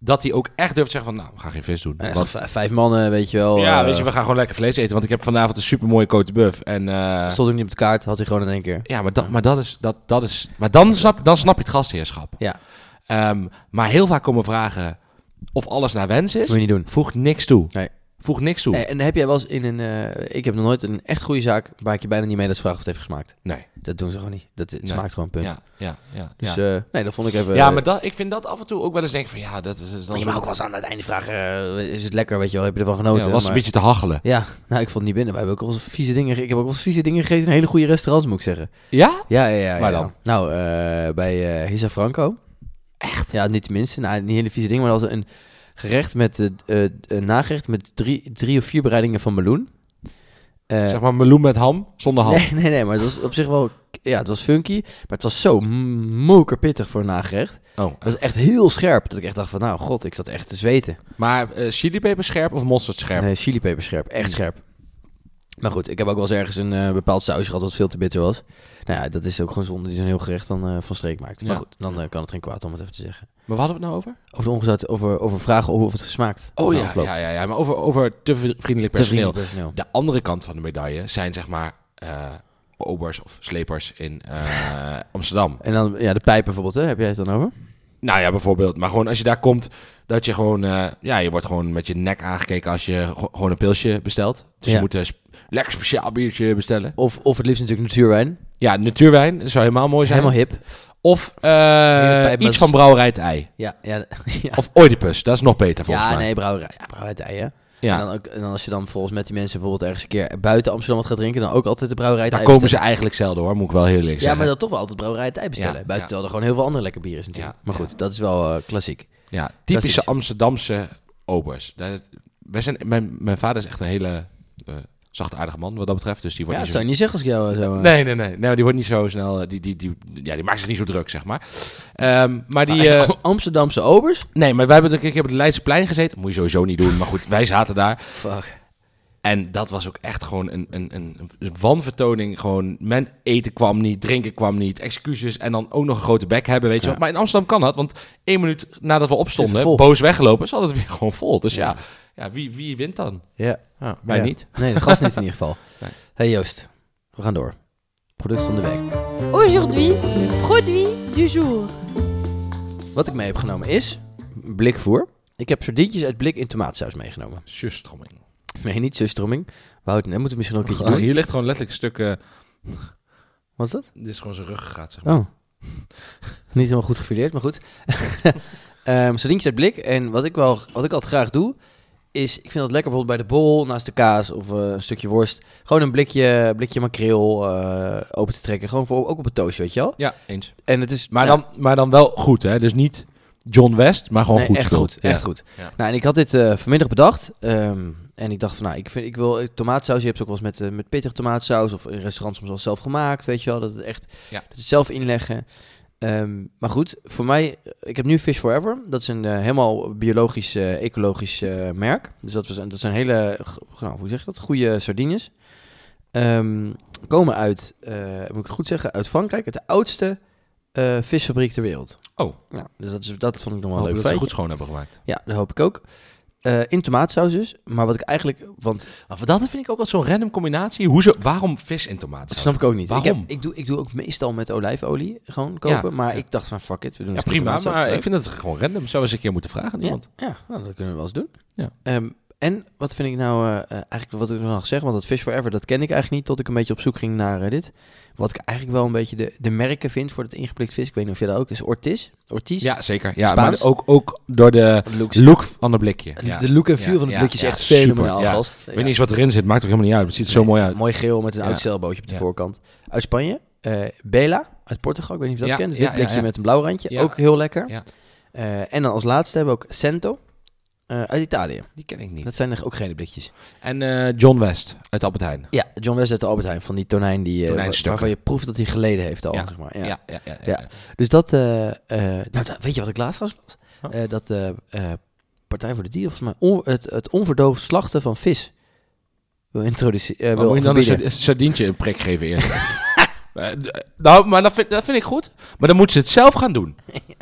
Speaker 1: Dat hij ook echt durft te zeggen van, nou, we gaan geen vis doen.
Speaker 2: Ja, het is
Speaker 1: Want-
Speaker 2: toch v- vijf mannen, weet je wel.
Speaker 1: ja,
Speaker 2: eh,
Speaker 1: weet je, we gaan gewoon lekker vlees eten. Want ik heb vanavond een supermooie Cote Buff. En eh,
Speaker 2: Stond ook niet op de kaart, had hij gewoon in één keer.
Speaker 1: ja, maar, dat, maar dat is. Dat, dat is maar dan snap, dan snap je het gastheerschap.
Speaker 2: Ja.
Speaker 1: Ehm, maar heel vaak komen vragen of alles naar wens
Speaker 2: Moet je
Speaker 1: is.
Speaker 2: niet doen.
Speaker 1: Voegt niks toe.
Speaker 2: Nee.
Speaker 1: Voegt niks toe.
Speaker 2: Eh, en heb jij wel eens in een... eh, ik heb nog nooit een echt goede zaak, waar ik je bijna niet mee dat ze vragen of het heeft gesmaakt.
Speaker 1: Nee.
Speaker 2: Dat doen ze gewoon niet. Dat het
Speaker 1: Nee.
Speaker 2: smaakt gewoon, punt.
Speaker 1: Ja, ja, ja.
Speaker 2: Dus
Speaker 1: ja.
Speaker 2: eh, nee, dat vond ik even...
Speaker 1: ja, maar dat, ik vind dat af en toe ook wel eens denk ik van ja, dat is, is dan
Speaker 2: je
Speaker 1: zo-
Speaker 2: mag ook wel eens aan het einde vragen, eh, is het lekker, weet je wel, heb je ervan
Speaker 1: Ja,
Speaker 2: genoten?
Speaker 1: was
Speaker 2: Maar-
Speaker 1: een beetje te hachelen.
Speaker 2: Ja, nou, ik vond het niet binnen. Wij hebben ook wel eens vieze dingen... ge- Ik heb ook wel eens vieze dingen gegeten in hele goede restaurants, moet ik zeggen.
Speaker 1: Ja?
Speaker 2: Ja, ja, ja.
Speaker 1: Waar
Speaker 2: ja.
Speaker 1: dan?
Speaker 2: Nou, eh, bij eh Hisa Franco. Echt? Ja, niet tenminste. Nou, niet hele vieze dingen, maar dat was een gerecht met eh, eh, een nagerecht met drie, drie of vier bereidingen van meloen. Eh,
Speaker 1: Zeg maar meloen met ham, zonder ham.
Speaker 2: Nee, nee, nee, maar het was op zich wel... Ja, het was funky, maar het was zo m- mokerpittig voor een nagerecht.
Speaker 1: Oh.
Speaker 2: Het was echt heel scherp, dat ik echt dacht van, nou god, ik zat echt te zweten.
Speaker 1: Maar eh chilipeper scherp of mosterd scherp? Mm.
Speaker 2: Nee, chilipeper scherp, echt scherp. Maar goed, ik heb ook wel eens ergens een eh, bepaald sausje gehad wat veel te bitter was. Nou ja, dat is ook gewoon zonde die zo'n heel gerecht dan eh, van streek maakt. Maar
Speaker 1: Ja.
Speaker 2: goed, dan eh, kan het geen kwaad om het even te zeggen.
Speaker 1: Maar waar hadden we het nou over?
Speaker 2: Over de ongezouten, over, over vragen of het gesmaakt.
Speaker 1: Oh
Speaker 2: Na
Speaker 1: ja,
Speaker 2: afloop.
Speaker 1: ja, ja, ja. Maar over, over te
Speaker 2: Te
Speaker 1: vriendelijk personeel.
Speaker 2: vriendelijk personeel.
Speaker 1: De andere kant van de medaille zijn zeg maar eh, obers of slepers in eh, Amsterdam.
Speaker 2: En dan, ja, de pijp bijvoorbeeld, hè? heb jij het dan over?
Speaker 1: Nou ja, bijvoorbeeld. Maar gewoon als je daar komt, dat je gewoon... eh, ja, je wordt gewoon met je nek aangekeken als je go- gewoon een pilsje bestelt. Dus je
Speaker 2: Ja.
Speaker 1: moet een sp- lekker speciaal biertje bestellen.
Speaker 2: Of, of het liefst natuurlijk natuurwijn.
Speaker 1: Ja, natuurwijn. Dat zou helemaal mooi zijn.
Speaker 2: Helemaal hip.
Speaker 1: Of eh,
Speaker 2: pijp met-
Speaker 1: iets van brouwerij het ei.
Speaker 2: Ja, ja, ja.
Speaker 1: Of Oedipus. Dat is nog beter volgens
Speaker 2: ja
Speaker 1: mij.
Speaker 2: nee, brouwerij. Ja, brouwerij het ei, hè?
Speaker 1: ja,
Speaker 2: En, dan ook, en dan als je dan volgens met die mensen bijvoorbeeld ergens een keer buiten Amsterdam wat gaat drinken, dan ook altijd de brouwerij het
Speaker 1: daar
Speaker 2: ei
Speaker 1: komen ze
Speaker 2: bestellen.
Speaker 1: eigenlijk zelden hoor, moet ik wel heel eerlijk
Speaker 2: Ja,
Speaker 1: zeggen.
Speaker 2: maar dan toch wel altijd brouwerij het ei bestellen.
Speaker 1: Ja,
Speaker 2: buiten
Speaker 1: ja.
Speaker 2: terwijl er gewoon heel veel andere lekker bier is natuurlijk.
Speaker 1: Ja,
Speaker 2: maar goed, dat is wel eh, klassiek.
Speaker 1: Ja, typische
Speaker 2: Precies.
Speaker 1: Amsterdamse obers. Dat, wij zijn, mijn, mijn vader is echt een hele eh zachtaardige man wat dat betreft. Dus die
Speaker 2: Ja,
Speaker 1: wordt
Speaker 2: dat
Speaker 1: niet zo...
Speaker 2: zou je niet zeggen als ik jou eh, zo... eh,
Speaker 1: Nee, nee, nee. Nou, die wordt niet zo snel... eh, Die, die, die, ja, die maakt zich niet zo druk, zeg maar. Ehm, maar die...
Speaker 2: maar
Speaker 1: eh,
Speaker 2: echt Amsterdamse obers?
Speaker 1: nee, maar wij hebben een keer op het Leidseplein gezeten. Moet je sowieso niet doen. Maar goed, wij zaten daar.
Speaker 2: Fuck.
Speaker 1: En dat was ook echt gewoon een, een, een, een wanvertoning. Gewoon, men eten kwam niet, drinken kwam niet, excuses. En dan ook nog een grote bek hebben, weet je
Speaker 2: Ja.
Speaker 1: wel. Maar in Amsterdam kan dat, want één minuut nadat we
Speaker 2: Zit het
Speaker 1: opstonden,
Speaker 2: vol.
Speaker 1: boos weggelopen, is altijd weer gewoon vol. Dus ja,
Speaker 2: Ja.
Speaker 1: ja, wie, wie wint dan?
Speaker 2: Ja.
Speaker 1: Ja, Oh, wij
Speaker 2: Ja.
Speaker 1: niet.
Speaker 2: Nee, de gast niet in ieder geval.
Speaker 1: Nee.
Speaker 2: Hey Joost, we gaan door. Product van de week.
Speaker 3: Aujourd'hui, le produit du jour.
Speaker 2: Wat ik mee heb genomen is blikvoer. Ik heb sardientjes uit blik in tomaatsaus meegenomen.
Speaker 1: Zuurstroming.
Speaker 2: Nee, niet zuurstroming. Wout, dat moeten we misschien ook een keertje
Speaker 1: Oh,
Speaker 2: doen.
Speaker 1: hier ligt gewoon letterlijk stukken.
Speaker 2: Wat is dat?
Speaker 1: Dit is gewoon zijn rug gegaan, zeg maar.
Speaker 2: Oh. niet helemaal goed gefileerd, maar goed. Ehm sardientjes uit blik. En wat ik, wel, wat ik altijd graag doe, is... Ik vind dat lekker bijvoorbeeld bij de bol, naast de kaas of eh, een stukje worst. Gewoon een blikje, blikje makreel eh, open te trekken. Gewoon voor, ook op een toastje, weet je wel.
Speaker 1: Ja, eens.
Speaker 2: En het is...
Speaker 1: Maar,
Speaker 2: ja.
Speaker 1: dan, maar dan wel goed, hè? Dus niet John West, maar gewoon
Speaker 2: Nee,
Speaker 1: goed.
Speaker 2: Echt
Speaker 1: spul.
Speaker 2: goed,
Speaker 1: Ja.
Speaker 2: echt goed.
Speaker 1: Ja.
Speaker 2: Nou, en ik had dit eh, vanmiddag bedacht. ehm, en ik dacht van, nou, ik, vind, ik wil eh, tomaatsaus. Je hebt ze ook wel eens met, eh, met pittig tomaatsaus. Of in restaurants soms wel zelf gemaakt, weet je wel. Dat het echt
Speaker 1: Ja.
Speaker 2: dat het zelf inleggen. Ehm, maar goed, voor mij, ik heb nu Fish Forever. Dat is een eh, helemaal biologisch, eh, ecologisch eh, merk. Dus dat, was, dat zijn hele, g- nou, hoe zeg je dat, goede sardines. Ehm, komen uit, eh, moet ik het goed zeggen, uit Frankrijk. Uit de oudste eh, visfabriek ter wereld.
Speaker 1: Oh.
Speaker 2: Ja, dus dat, is, dat vond ik nog wel
Speaker 1: Hopen
Speaker 2: leuk.
Speaker 1: dat ze
Speaker 2: feitje.
Speaker 1: goed schoon hebben gemaakt.
Speaker 2: Ja, dat hoop ik ook. Eh, in tomaatsaus dus. Maar wat ik eigenlijk... Want
Speaker 1: Maar dat vind ik ook wel zo'n random combinatie. Hoezo, waarom vis en
Speaker 2: dat
Speaker 1: tomaten?
Speaker 2: snap ik ook niet. Ik,
Speaker 1: Waarom?
Speaker 2: heb- ik, doe, ik doe ook meestal met olijfolie gewoon kopen.
Speaker 1: Ja.
Speaker 2: Maar
Speaker 1: Ja.
Speaker 2: ik dacht van fuck it, we doen
Speaker 1: Ja,
Speaker 2: eens met
Speaker 1: prima,
Speaker 2: tomaatsaus.
Speaker 1: maar
Speaker 2: Leuk.
Speaker 1: ik vind het gewoon random. Zou eens een keer moeten vragen aan
Speaker 2: Ja,
Speaker 1: iemand.
Speaker 2: ja nou, dat kunnen we wel eens doen.
Speaker 1: Ja.
Speaker 2: Ehm, En wat vind ik nou eh, eh, eigenlijk wat ik nog mag zeggen, want dat Fish Forever, dat ken ik eigenlijk niet, tot ik een beetje op zoek ging naar eh, dit. Wat ik eigenlijk wel een beetje de, de merken vind voor het ingeplikt vis, ik weet niet of je dat ook is, Ortiz. Ortiz.
Speaker 1: Ja, zeker. Ja,
Speaker 2: Spaans?
Speaker 1: maar ook, ook door de
Speaker 2: Looks.
Speaker 1: look van het blikje. Ja.
Speaker 2: De look en
Speaker 1: Ja,
Speaker 2: feel van het
Speaker 1: ja,
Speaker 2: blikje is
Speaker 1: ja,
Speaker 2: echt
Speaker 1: super,
Speaker 2: fenomenaal,
Speaker 1: ja.
Speaker 2: gast.
Speaker 1: Ik weet niet eens wat erin zit, maakt toch helemaal niet uit. Het ziet er zo mooi uit.
Speaker 2: Mooi geel met een
Speaker 1: Ja.
Speaker 2: oud zeilbootje op de
Speaker 1: Ja.
Speaker 2: voorkant. Uit Spanje, eh, Bela uit Portugal, ik weet niet of je dat
Speaker 1: Ja,
Speaker 2: kent. Wit
Speaker 1: ja, ja,
Speaker 2: blikje
Speaker 1: ja.
Speaker 2: met een blauw randje,
Speaker 1: Ja.
Speaker 2: ook heel lekker.
Speaker 1: Ja.
Speaker 2: Eh, en dan als laatste hebben we ook Cento eh, uit Italië.
Speaker 1: Die ken ik niet.
Speaker 2: Dat zijn er ook gele blikjes.
Speaker 1: En eh, John West uit Albert Heijn.
Speaker 2: Ja, John West uit de Albert Heijn, van die tonijn die, eh,
Speaker 1: Tonijnstukken.
Speaker 2: waarvan je proeft dat hij geleden heeft al,
Speaker 1: Ja.
Speaker 2: zeg maar.
Speaker 1: Ja,
Speaker 2: Ja.
Speaker 1: ja, ja. ja,
Speaker 2: Ja. Dus dat, eh, eh, nou, da- weet je wat ik laatst trouwens las?
Speaker 1: Huh?
Speaker 2: Eh, dat eh, eh, Partij voor de Dieren, volgens mij, on- het, het onverdoofd slachten van vis wil introduceren.
Speaker 1: Maar Oh, moet je dan een sard- een sardientje een prik geven eerst? Eh, d- nou, maar dat vind, dat vind ik goed. Maar dan moet ze het zelf gaan doen.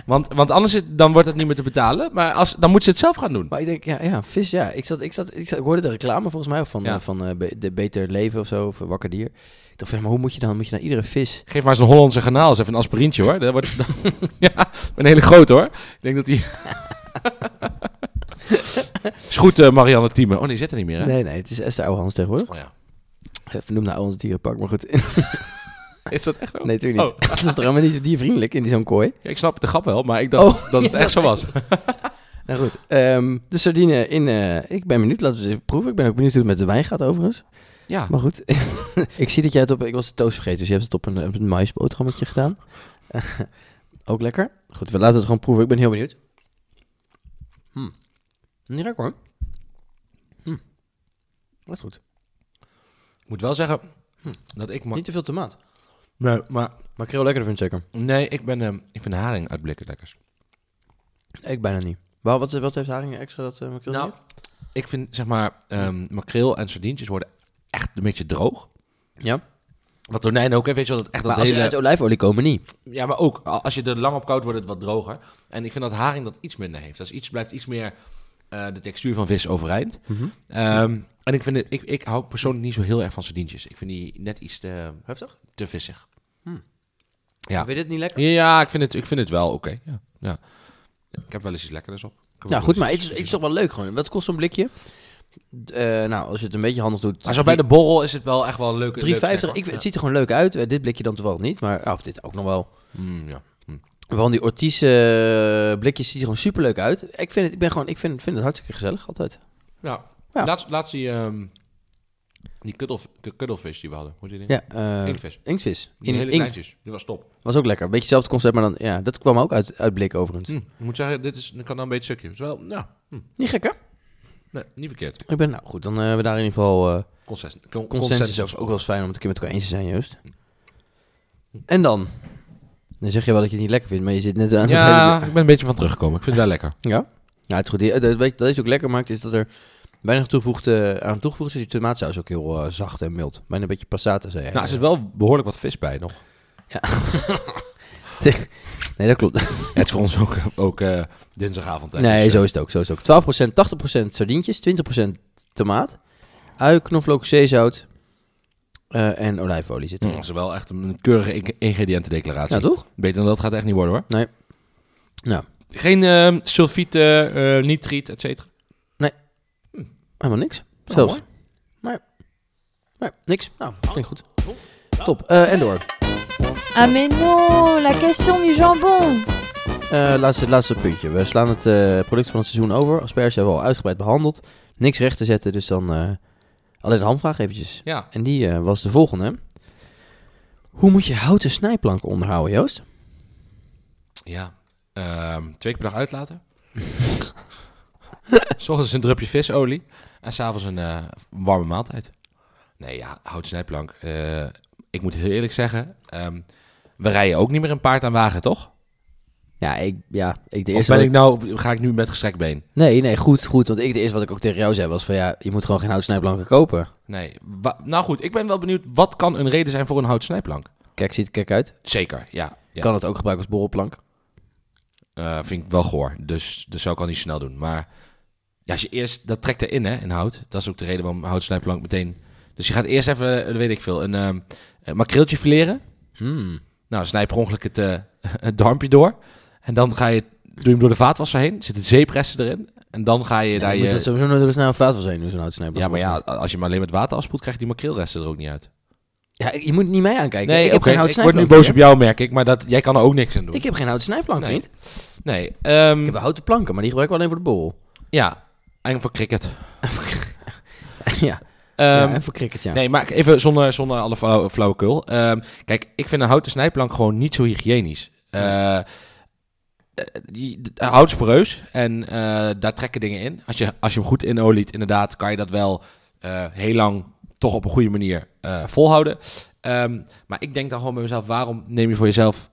Speaker 1: Want, want anders is- dan wordt het niet meer te betalen. Maar als, dan moet ze het zelf gaan doen.
Speaker 2: Maar ik denk, ja, ja vis, ja. Ik, zat, ik, zat, ik, zat, ik hoorde de reclame volgens mij van,
Speaker 1: Ja.
Speaker 2: eh, van eh, Be- de Beter Leven of zo, of eh, Wakker Dier. Ik dacht, ja, maar hoe moet je dan? Moet je naar iedere vis?
Speaker 1: Geef maar eens een Hollandse kanaal. Eens even een aspirintje hoor. Dat wordt, ja, een hele groot hoor. Ik denk dat die... is goed eh, Marianne Thieme. Oh nee, die zit er niet meer hè?
Speaker 2: Nee, nee, het is Esther Ouwehans tegenwoordig. Eh,
Speaker 1: Oh, ja.
Speaker 2: Vernoemd naar ons dierenpark, maar goed.
Speaker 1: Is dat echt zo?
Speaker 2: nee, natuurlijk niet. Het is toch helemaal niet zo diervriendelijk in zo'n kooi?
Speaker 1: Ja, ik snap de grap wel, maar ik dacht
Speaker 2: Oh,
Speaker 1: dat het echt zo was.
Speaker 2: Nou goed, ehm, de sardine in... eh, ik ben benieuwd, laten we ze even proeven. Ik ben ook benieuwd hoe het met de wijn gaat overigens.
Speaker 1: Ja,
Speaker 2: Maar goed, ik zie dat jij het op... Ik was de toast vergeten, dus je hebt het op een, op een maïsboterhammetje gedaan. ook lekker. Goed, we laten het gewoon proeven. Ik ben heel benieuwd. Hm. Niet lekker hoor. Hm. Wat goed.
Speaker 1: ik moet wel zeggen
Speaker 2: Hm.
Speaker 1: dat ik...
Speaker 2: Niet te veel tomaat.
Speaker 1: Nee, maar...
Speaker 2: Maar ik heel lekker vind zeker.
Speaker 1: Nee, ik, ben, ehm, ik vind haring uit blikken lekkers.
Speaker 2: Ik bijna niet. Waar, wat, wat heeft haringen extra dat uh, makreel
Speaker 1: Nou, ik vind zeg maar ehm, makreel en sardientjes worden echt een beetje droog.
Speaker 2: niet? Ja.
Speaker 1: Wat tonijn ook, hè, weet je wel, dat echt
Speaker 2: Maar
Speaker 1: dat
Speaker 2: als
Speaker 1: hele...
Speaker 2: ze uit olijfolie komen, niet.
Speaker 1: Ja, maar ook, a- als je er lang op koudt, wordt het wat droger. En ik vind dat haring dat iets minder heeft. Dat is iets, blijft iets meer eh, de textuur van vis overeind.
Speaker 2: Mhm.
Speaker 1: Ehm, en ik, vind het, ik, ik hou persoonlijk niet zo heel erg van sardientjes. Ik vind die net iets te,
Speaker 2: Heftig?
Speaker 1: te vissig.
Speaker 2: Ja.
Speaker 1: Ja.
Speaker 2: Weet je dit niet lekker?
Speaker 1: Ja, ik vind het, ik vind het wel oké. Ja. Ja. Ik heb wel eens iets lekkerders op. Ik heb ook
Speaker 2: Nou
Speaker 1: wel
Speaker 2: goed,
Speaker 1: eens
Speaker 2: maar
Speaker 1: iets-
Speaker 2: het is, het
Speaker 1: iets
Speaker 2: is toch wel leuk gewoon. Wat kost zo'n blikje? D- eh, nou, als je het een beetje handig doet...
Speaker 1: Maar zo bij de borrel is het wel echt wel een leuke...
Speaker 2: 350,
Speaker 1: leuk
Speaker 2: ik, het
Speaker 1: snack, hoor.
Speaker 2: ziet er gewoon leuk uit. Eh, dit blikje dan toevallig niet, maar ah, of dit ook nog wel.
Speaker 1: Ja. Mm, ja.
Speaker 2: Van die Ortiz eh, blikjes ziet er gewoon super leuk uit. Ik vind het, ik ben gewoon, ik vind, vind het hartstikke gezellig altijd.
Speaker 1: Ja.
Speaker 2: Ja.
Speaker 1: Laatst, laatst die, ehm die kuddel, ku- kuddelvis die we hadden. Hoe heet die?
Speaker 2: Ja, eh,
Speaker 1: Inktvis.
Speaker 2: inktvis.
Speaker 1: Die
Speaker 2: In
Speaker 1: hele
Speaker 2: inkt
Speaker 1: kleintjes. Die was top.
Speaker 2: was ook lekker. Beetje hetzelfde concept, maar dan, ja, dat kwam ook uit, uit blik overigens.
Speaker 1: Hm, Ik moet zeggen, dit is, dit kan dan een beetje stukje. Het is wel, ja, hm,
Speaker 2: Niet gek hè?
Speaker 1: nee, niet verkeerd.
Speaker 2: Ik ben, nou goed, dan eh, hebben we daar in ieder geval eh,
Speaker 1: Consensus. Con-
Speaker 2: consensus over. Ook wel eens fijn om het een keer met elkaar eens te zijn, Joost.
Speaker 1: Hmm.
Speaker 2: En dan? Dan zeg je wel dat je het niet lekker vindt, maar je zit net aan
Speaker 1: Ja, ik ben een beetje van teruggekomen. Ik vind het wel lekker.
Speaker 2: Ja? Ja, het is goed. Die- eh, Dat, weet- dat is ook lekker maakt, is dat er weinig toegevoegde, aan toegevoegd is. Dus Die tomaatsaus ook heel eh, zacht en mild. Bijna een beetje passata, zei hij.
Speaker 1: Nou, er zit wel behoorlijk wat vis bij nog.
Speaker 2: nee, dat klopt.
Speaker 1: het is voor ons ook, ook eh, dinsdagavond. hè,
Speaker 2: nee,
Speaker 1: dus,
Speaker 2: zo is het ook. Zo is het ook. 12%, 80% sardientjes, 20% tomaat, ui, knoflook, zeezout eh, en olijfolie zit
Speaker 1: eh,
Speaker 2: er.
Speaker 1: hm, Dat is wel echt een keurige ing- ingrediëntendeclaratie.
Speaker 2: Ja, toch?
Speaker 1: Beter dan dat gaat echt niet worden hoor.
Speaker 2: Nee. Nou.
Speaker 1: Geen ehm sulfiet, eh, eh, nitriet, et cetera.
Speaker 2: Helemaal niks.
Speaker 1: Nou,
Speaker 2: Zelfs.
Speaker 1: mooi.
Speaker 2: maar, maar, niks. Nou, klinkt goed. Top. Eh, en door.
Speaker 3: Ah mais non, la question du jambon
Speaker 2: Eh, laatste, laatste puntje. We slaan het eh, product van het seizoen over. Asperges hebben we al uitgebreid behandeld. Niks recht te zetten, dus dan eh, alleen de hamvraag eventjes.
Speaker 1: Ja.
Speaker 2: En die eh, was de volgende. Hoe moet je houten snijplanken onderhouden, Joost?
Speaker 1: Ja. Ehm, twee keer per dag uitlaten. S ochtends een drupje visolie. En s'avonds een eh, warme maaltijd. Nee, ja, hout snijplank. Eh, ik moet heel eerlijk zeggen, ehm, we rijden ook niet meer een paard aan wagen, toch?
Speaker 2: Ja, ik, ja, ik de
Speaker 1: Of
Speaker 2: eerste.
Speaker 1: ben
Speaker 2: wat
Speaker 1: ik nou, ga ik nu met gestrekt been?
Speaker 2: Nee, nee, goed, goed. Want ik, de eerste wat ik ook tegen jou zei was van ja, je moet gewoon geen houten snijplanken kopen.
Speaker 1: Nee. Wa- nou goed, ik ben wel benieuwd, wat kan een reden zijn voor een hout snijplank?
Speaker 2: Kijk, ziet er kijk uit.
Speaker 1: Zeker, ja. ja.
Speaker 2: Kan het ook gebruiken als borrelplank.
Speaker 1: Eh, vind ik wel goor, dus dat zou ik al niet snel doen. Maar ja, als je eerst, dat trekt erin hè, in hout. Dat is ook de reden waarom houtsnijplank meteen... Dus je gaat eerst even, eh, weet ik veel, een, ehm, een makreeltje fileren.
Speaker 2: Hmm.
Speaker 1: Nou, snijp per ongeluk het, eh, het darmpje door. En dan ga je, doe je hem door de vaatwasser heen, zitten zeepressen erin. En dan ga je daar
Speaker 2: je
Speaker 1: je...
Speaker 2: moet dat sowieso nooit door snel vaat zijn, hoe zo'n hout snijden.
Speaker 1: Ja, maar ja, als je hem alleen met water afspoelt, krijg je die makreelresten er ook niet uit.
Speaker 2: ja, ik- je moet niet mij aankijken.
Speaker 1: nee,
Speaker 2: ik
Speaker 1: oké,
Speaker 2: heb geen hout
Speaker 1: ik word nu
Speaker 2: snijplank
Speaker 1: boos
Speaker 2: meer.
Speaker 1: op jou, merk ik. Maar dat, jij kan er ook niks aan doen.
Speaker 2: Ik heb geen houten snijplank,
Speaker 1: Nee.
Speaker 2: vriend.
Speaker 1: nee, ehm,
Speaker 2: Ik heb wel houten planken, maar die gebruiken we alleen voor de borrel.
Speaker 1: ja, eigenlijk voor cricket.
Speaker 2: ja,
Speaker 1: Ehm,
Speaker 2: ja, en voor cricket, ja.
Speaker 1: Nee, maar even zonder, zonder alle flauwe, flauwekul. Ehm, kijk, ik vind een houten snijplank gewoon niet zo hygiënisch. Eh eh, die- de- hout is poreus en eh, daar trekken dingen in. Als je, als je hem goed inoliet, inderdaad, kan je dat wel eh, heel lang toch op een goede manier eh, volhouden. Ehm, maar ik denk dan gewoon bij mezelf, waarom neem je voor jezelf...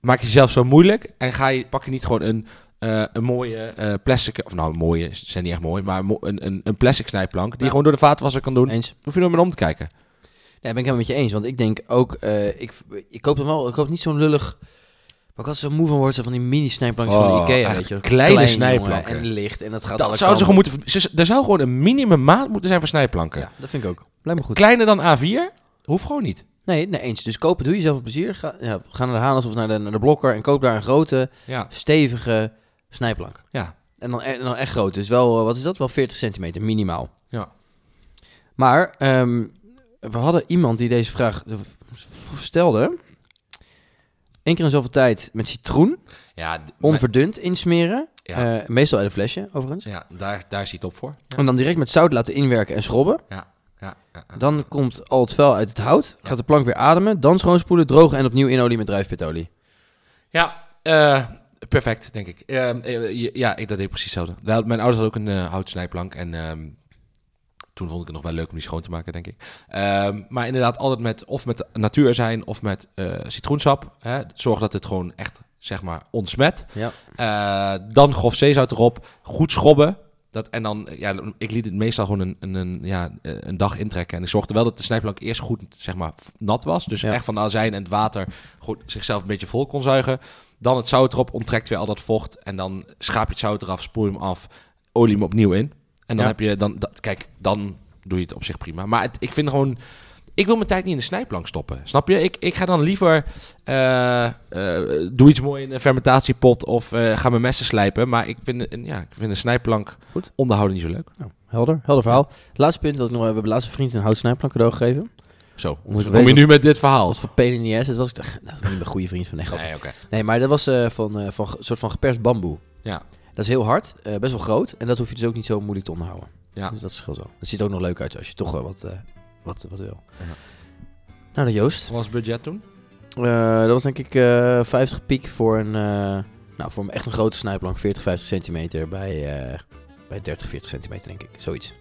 Speaker 1: Maak je jezelf zo moeilijk en ga je, pak je niet gewoon een, eh, een mooie eh, plastic... Of nou, een mooie, ze zijn niet echt mooi, maar een mo- een, een, een plastic snijplank... die je
Speaker 2: Ja.
Speaker 1: gewoon door de vaatwasser kan doen.
Speaker 2: Eens.
Speaker 1: Hoef je er maar om te kijken.
Speaker 2: Nee, ben ik helemaal met je eens. Want ik denk ook, eh, ik, ik koop dan wel, ik koop niet zo'n lullig. Maar ik had zo moe van worden zo van die mini snijplankjes van
Speaker 1: Oh,
Speaker 2: de Ikea.
Speaker 1: echt
Speaker 2: Weet je, wel.
Speaker 1: kleine
Speaker 2: Klein,
Speaker 1: snijplanken.
Speaker 2: jongen, En licht. En dat gaat alle
Speaker 1: Dat zouden ze
Speaker 2: kanten
Speaker 1: gewoon moeten. ze- ze- Er zou gewoon een minimummaat moeten zijn voor snijplanken.
Speaker 2: op. Ja, dat vind ik ook. Blijf me goed.
Speaker 1: Kleiner dan A4 hoeft gewoon niet.
Speaker 2: Nee, nee, eens. Dus kopen doe jezelf een plezier. Ga, ja, ga naar de Hanas of naar de, naar de Blokker en koop daar een grote,
Speaker 1: Ja,
Speaker 2: stevige snijplank.
Speaker 1: ja.
Speaker 2: En dan, e- en dan echt groot. Dus wel, eh, wat is dat? Wel 40 centimeter minimaal.
Speaker 1: Ja.
Speaker 2: Maar ehm, we hadden iemand die deze vraag eh, v- stelde. Eén keer in zoveel tijd met citroen,
Speaker 1: ja, d- maar-
Speaker 2: onverdund insmeren.
Speaker 1: ja,
Speaker 2: Eh, meestal uit een flesje, overigens.
Speaker 1: ja daar, daar is hij top voor. Ja,
Speaker 2: En dan direct met zout laten inwerken en schrobben.
Speaker 1: ja, ja, ja.
Speaker 2: Dan komt al het vuil uit het hout.
Speaker 1: Ja.
Speaker 2: Gaat de plank weer ademen. Dan schoonspoelen, drogen en opnieuw inolie met drijfpitolie.
Speaker 1: Ja, eh, perfect, denk ik. Ehm, eh, je- ja, ik, dat deed ik precies hetzelfde. Wij hadden- Mijn ouders hadden ook een eh, houtsnijplank. En ehm, toen vond ik het nog wel leuk om die schoon te maken, denk ik. Ehm, maar inderdaad, altijd met of met natuur zijn of met eh, citroensap. Hè. Zorg dat het gewoon echt, zeg maar, ontsmet.
Speaker 2: Ja.
Speaker 1: Eh, dan grof zeezout erop. Goed schrobben. Dat, en dan, eh, ja, ik liet het meestal gewoon een, een, een, ja, eh, een dag intrekken. En ik zorgde wel dat de snijplank eerst goed zeg maar, f- nat was. Dus
Speaker 2: Ja.
Speaker 1: echt van de azijn en het water goed, zichzelf een beetje vol kon zuigen. Dan het zout erop, onttrekt weer al dat vocht. En dan schaap je het zout eraf, spoel je hem af, olie hem opnieuw in. En dan
Speaker 2: Ja.
Speaker 1: heb je, dan, dat- kijk, dan doe je het op zich prima. Maar het- ik vind gewoon, ik wil mijn tijd niet in de snijplank stoppen. Snap je? Ik, ik ga dan liever, eh, eh, doe iets mooi in een fermentatiepot of eh, ga mijn messen slijpen. Maar ik vind, een- ja, ik vind een snijplank
Speaker 2: Goed.
Speaker 1: onderhouden niet zo leuk.
Speaker 2: Nou, helder, helder verhaal. Laatste punt dat ik nog we hebben. Laatste vriend een houtsnijplank cadeau gegeven.
Speaker 1: Zo,
Speaker 2: Moet
Speaker 1: kom je
Speaker 2: weten-
Speaker 1: nu met dit verhaal?
Speaker 2: Wat voor pain in the ass. Dat was ik dacht, nou, dat is niet mijn goede vriend van nee, grap.
Speaker 1: Nee, oké.
Speaker 2: Nee, maar dat was eh, van eh, van ge- soort van geperst bamboe.
Speaker 1: Ja.
Speaker 2: Dat is heel hard, eh, best wel groot. En dat hoef je dus ook niet zo moeilijk te onderhouden.
Speaker 1: Ja.
Speaker 2: Dus dat scheelt wel. Het ziet er ook nog leuk uit als je toch wel wat, eh, wat, wat wil.
Speaker 1: Ja.
Speaker 2: Nou, dan Joost.
Speaker 1: Wat was het budget toen?
Speaker 2: Eh, dat was denk ik eh 50 piek voor een, eh, nou, voor een echt een grote snijplank, 40, 50 centimeter bij, eh, bij 30, 40 centimeter denk ik. Zoiets.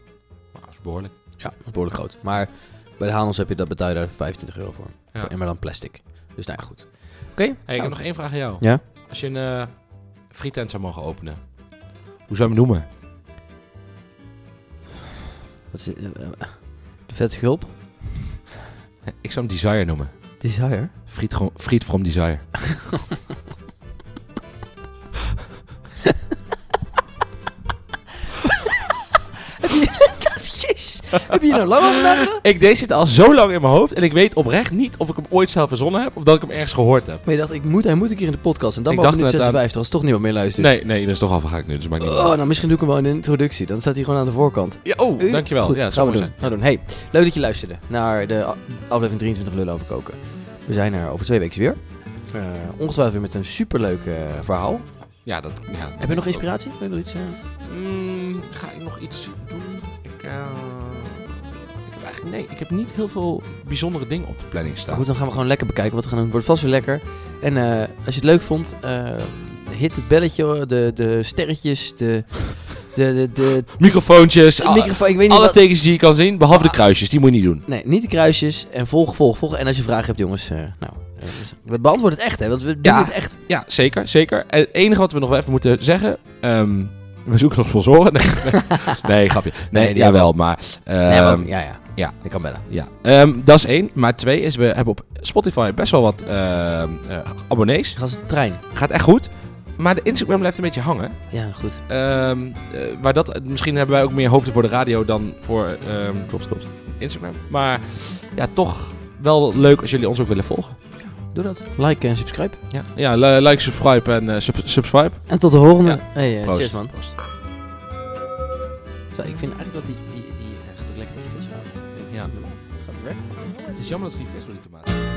Speaker 1: Nou, dat is behoorlijk.
Speaker 2: Ja, dat is behoorlijk groot. Maar bij de Hanels heb je dat betaal je daar 25 euro voor.
Speaker 1: Ja.
Speaker 2: Voor- En maar dan plastic. Dus nou ja, goed. Oké.
Speaker 1: Hey, ik heb nog één vraag aan jou.
Speaker 2: Nou, Ja?
Speaker 1: Als je een eh, frietent zou mogen openen, hoe zou je hem noemen?
Speaker 2: Wat is, eh, eh, de vette gulp.
Speaker 1: Ik zou hem Desire noemen.
Speaker 2: Desire.
Speaker 1: Friet, gro- friet from Desire.
Speaker 2: Jezus, heb je hier nou lang over nagedacht?
Speaker 1: Ik deed dit al zo lang in mijn hoofd en ik weet oprecht niet of ik hem ooit zelf verzonnen heb of dat ik hem ergens gehoord heb.
Speaker 2: Maar je dacht, ik moet, hij moet een keer in de podcast. En dan
Speaker 1: Ik
Speaker 2: mag ik
Speaker 1: dacht
Speaker 2: minuut
Speaker 1: net aan-
Speaker 2: 56 als toch niemand meer luistert.
Speaker 1: Nee, nee, dat is toch al ga ik nu, dus maakt niet uit.
Speaker 2: Oh, nou misschien doe ik hem wel in de introductie. Dan staat hij gewoon aan de voorkant.
Speaker 1: Ja, oh, dankjewel.
Speaker 2: Goed,
Speaker 1: ja,
Speaker 2: gaan
Speaker 1: zou
Speaker 2: we
Speaker 1: mooi
Speaker 2: doen.
Speaker 1: zijn.
Speaker 2: Gaan we doen. Hey, leuk dat je luisterde naar de a- aflevering 23 Lullen over koken. We zijn er over twee weken weer. Eh, ongetwijfeld weer met een superleuk eh, verhaal.
Speaker 1: Ja, dat, ja.
Speaker 2: Heb je nog inspiratie? Wil je nog iets? eh?
Speaker 1: Mm, ga ik nog iets doen? Ik, eh, ik heb eigenlijk, nee, ik heb niet heel veel bijzondere dingen op de planning staan.
Speaker 2: Goed, dan gaan we gewoon lekker bekijken wat we gaan doen. Het wordt vast weer lekker. En eh, als je het leuk vond, eh, hit het belletje, hoor. de, de sterretjes, de... De, de, de,
Speaker 1: Microfoontjes,
Speaker 2: de
Speaker 1: al-
Speaker 2: microfoon, ik weet niet
Speaker 1: alle
Speaker 2: wat...
Speaker 1: tekens die je kan zien, behalve de
Speaker 2: Ah.
Speaker 1: kruisjes, die moet je niet doen.
Speaker 2: Nee, niet de kruisjes. En volg, volg, volg. En als je vragen hebt, jongens, eh, nou... eh, we beantwoorden het echt, hè. Want we doen
Speaker 1: Ja.
Speaker 2: het echt.
Speaker 1: Ja, zeker, zeker. En het enige wat we nog wel even moeten zeggen... ehm, we zoeken nog sponsoren. Nee, nee grapje. Nee,
Speaker 2: Nee, die
Speaker 1: jawel, maar... ehm,
Speaker 2: nee, maar- ja, ja.
Speaker 1: ja.
Speaker 2: Ik kan bellen.
Speaker 1: ja. Ehm, dat is één. Maar twee is, we hebben op Spotify best wel wat ehm, eh, abonnees.
Speaker 2: Ik ga als een Dus trein.
Speaker 1: Gaat echt goed. Maar de Instagram blijft een beetje hangen.
Speaker 2: Ja, goed.
Speaker 1: Ehm, eh, maar dat, misschien hebben wij ook meer hoofden voor de radio dan voor ehm,
Speaker 2: Klopt, klopt.
Speaker 1: Instagram. Maar ja, toch wel leuk als jullie ons ook willen volgen.
Speaker 2: Doe dat. Like en subscribe.
Speaker 1: Ja, ja li- like, subscribe en eh, sub- subscribe.
Speaker 2: En tot de volgende.
Speaker 1: Ja.
Speaker 2: Hey, eh,
Speaker 1: Proost.
Speaker 2: cheers man.
Speaker 1: Proost.
Speaker 2: wel. Ik vind eigenlijk dat die, die, die hij gaat ook eh, lekker met die vis gaan.
Speaker 1: Ja.
Speaker 2: Het gaat werken.
Speaker 1: Het is jammer dat ze die vis door die tomaten.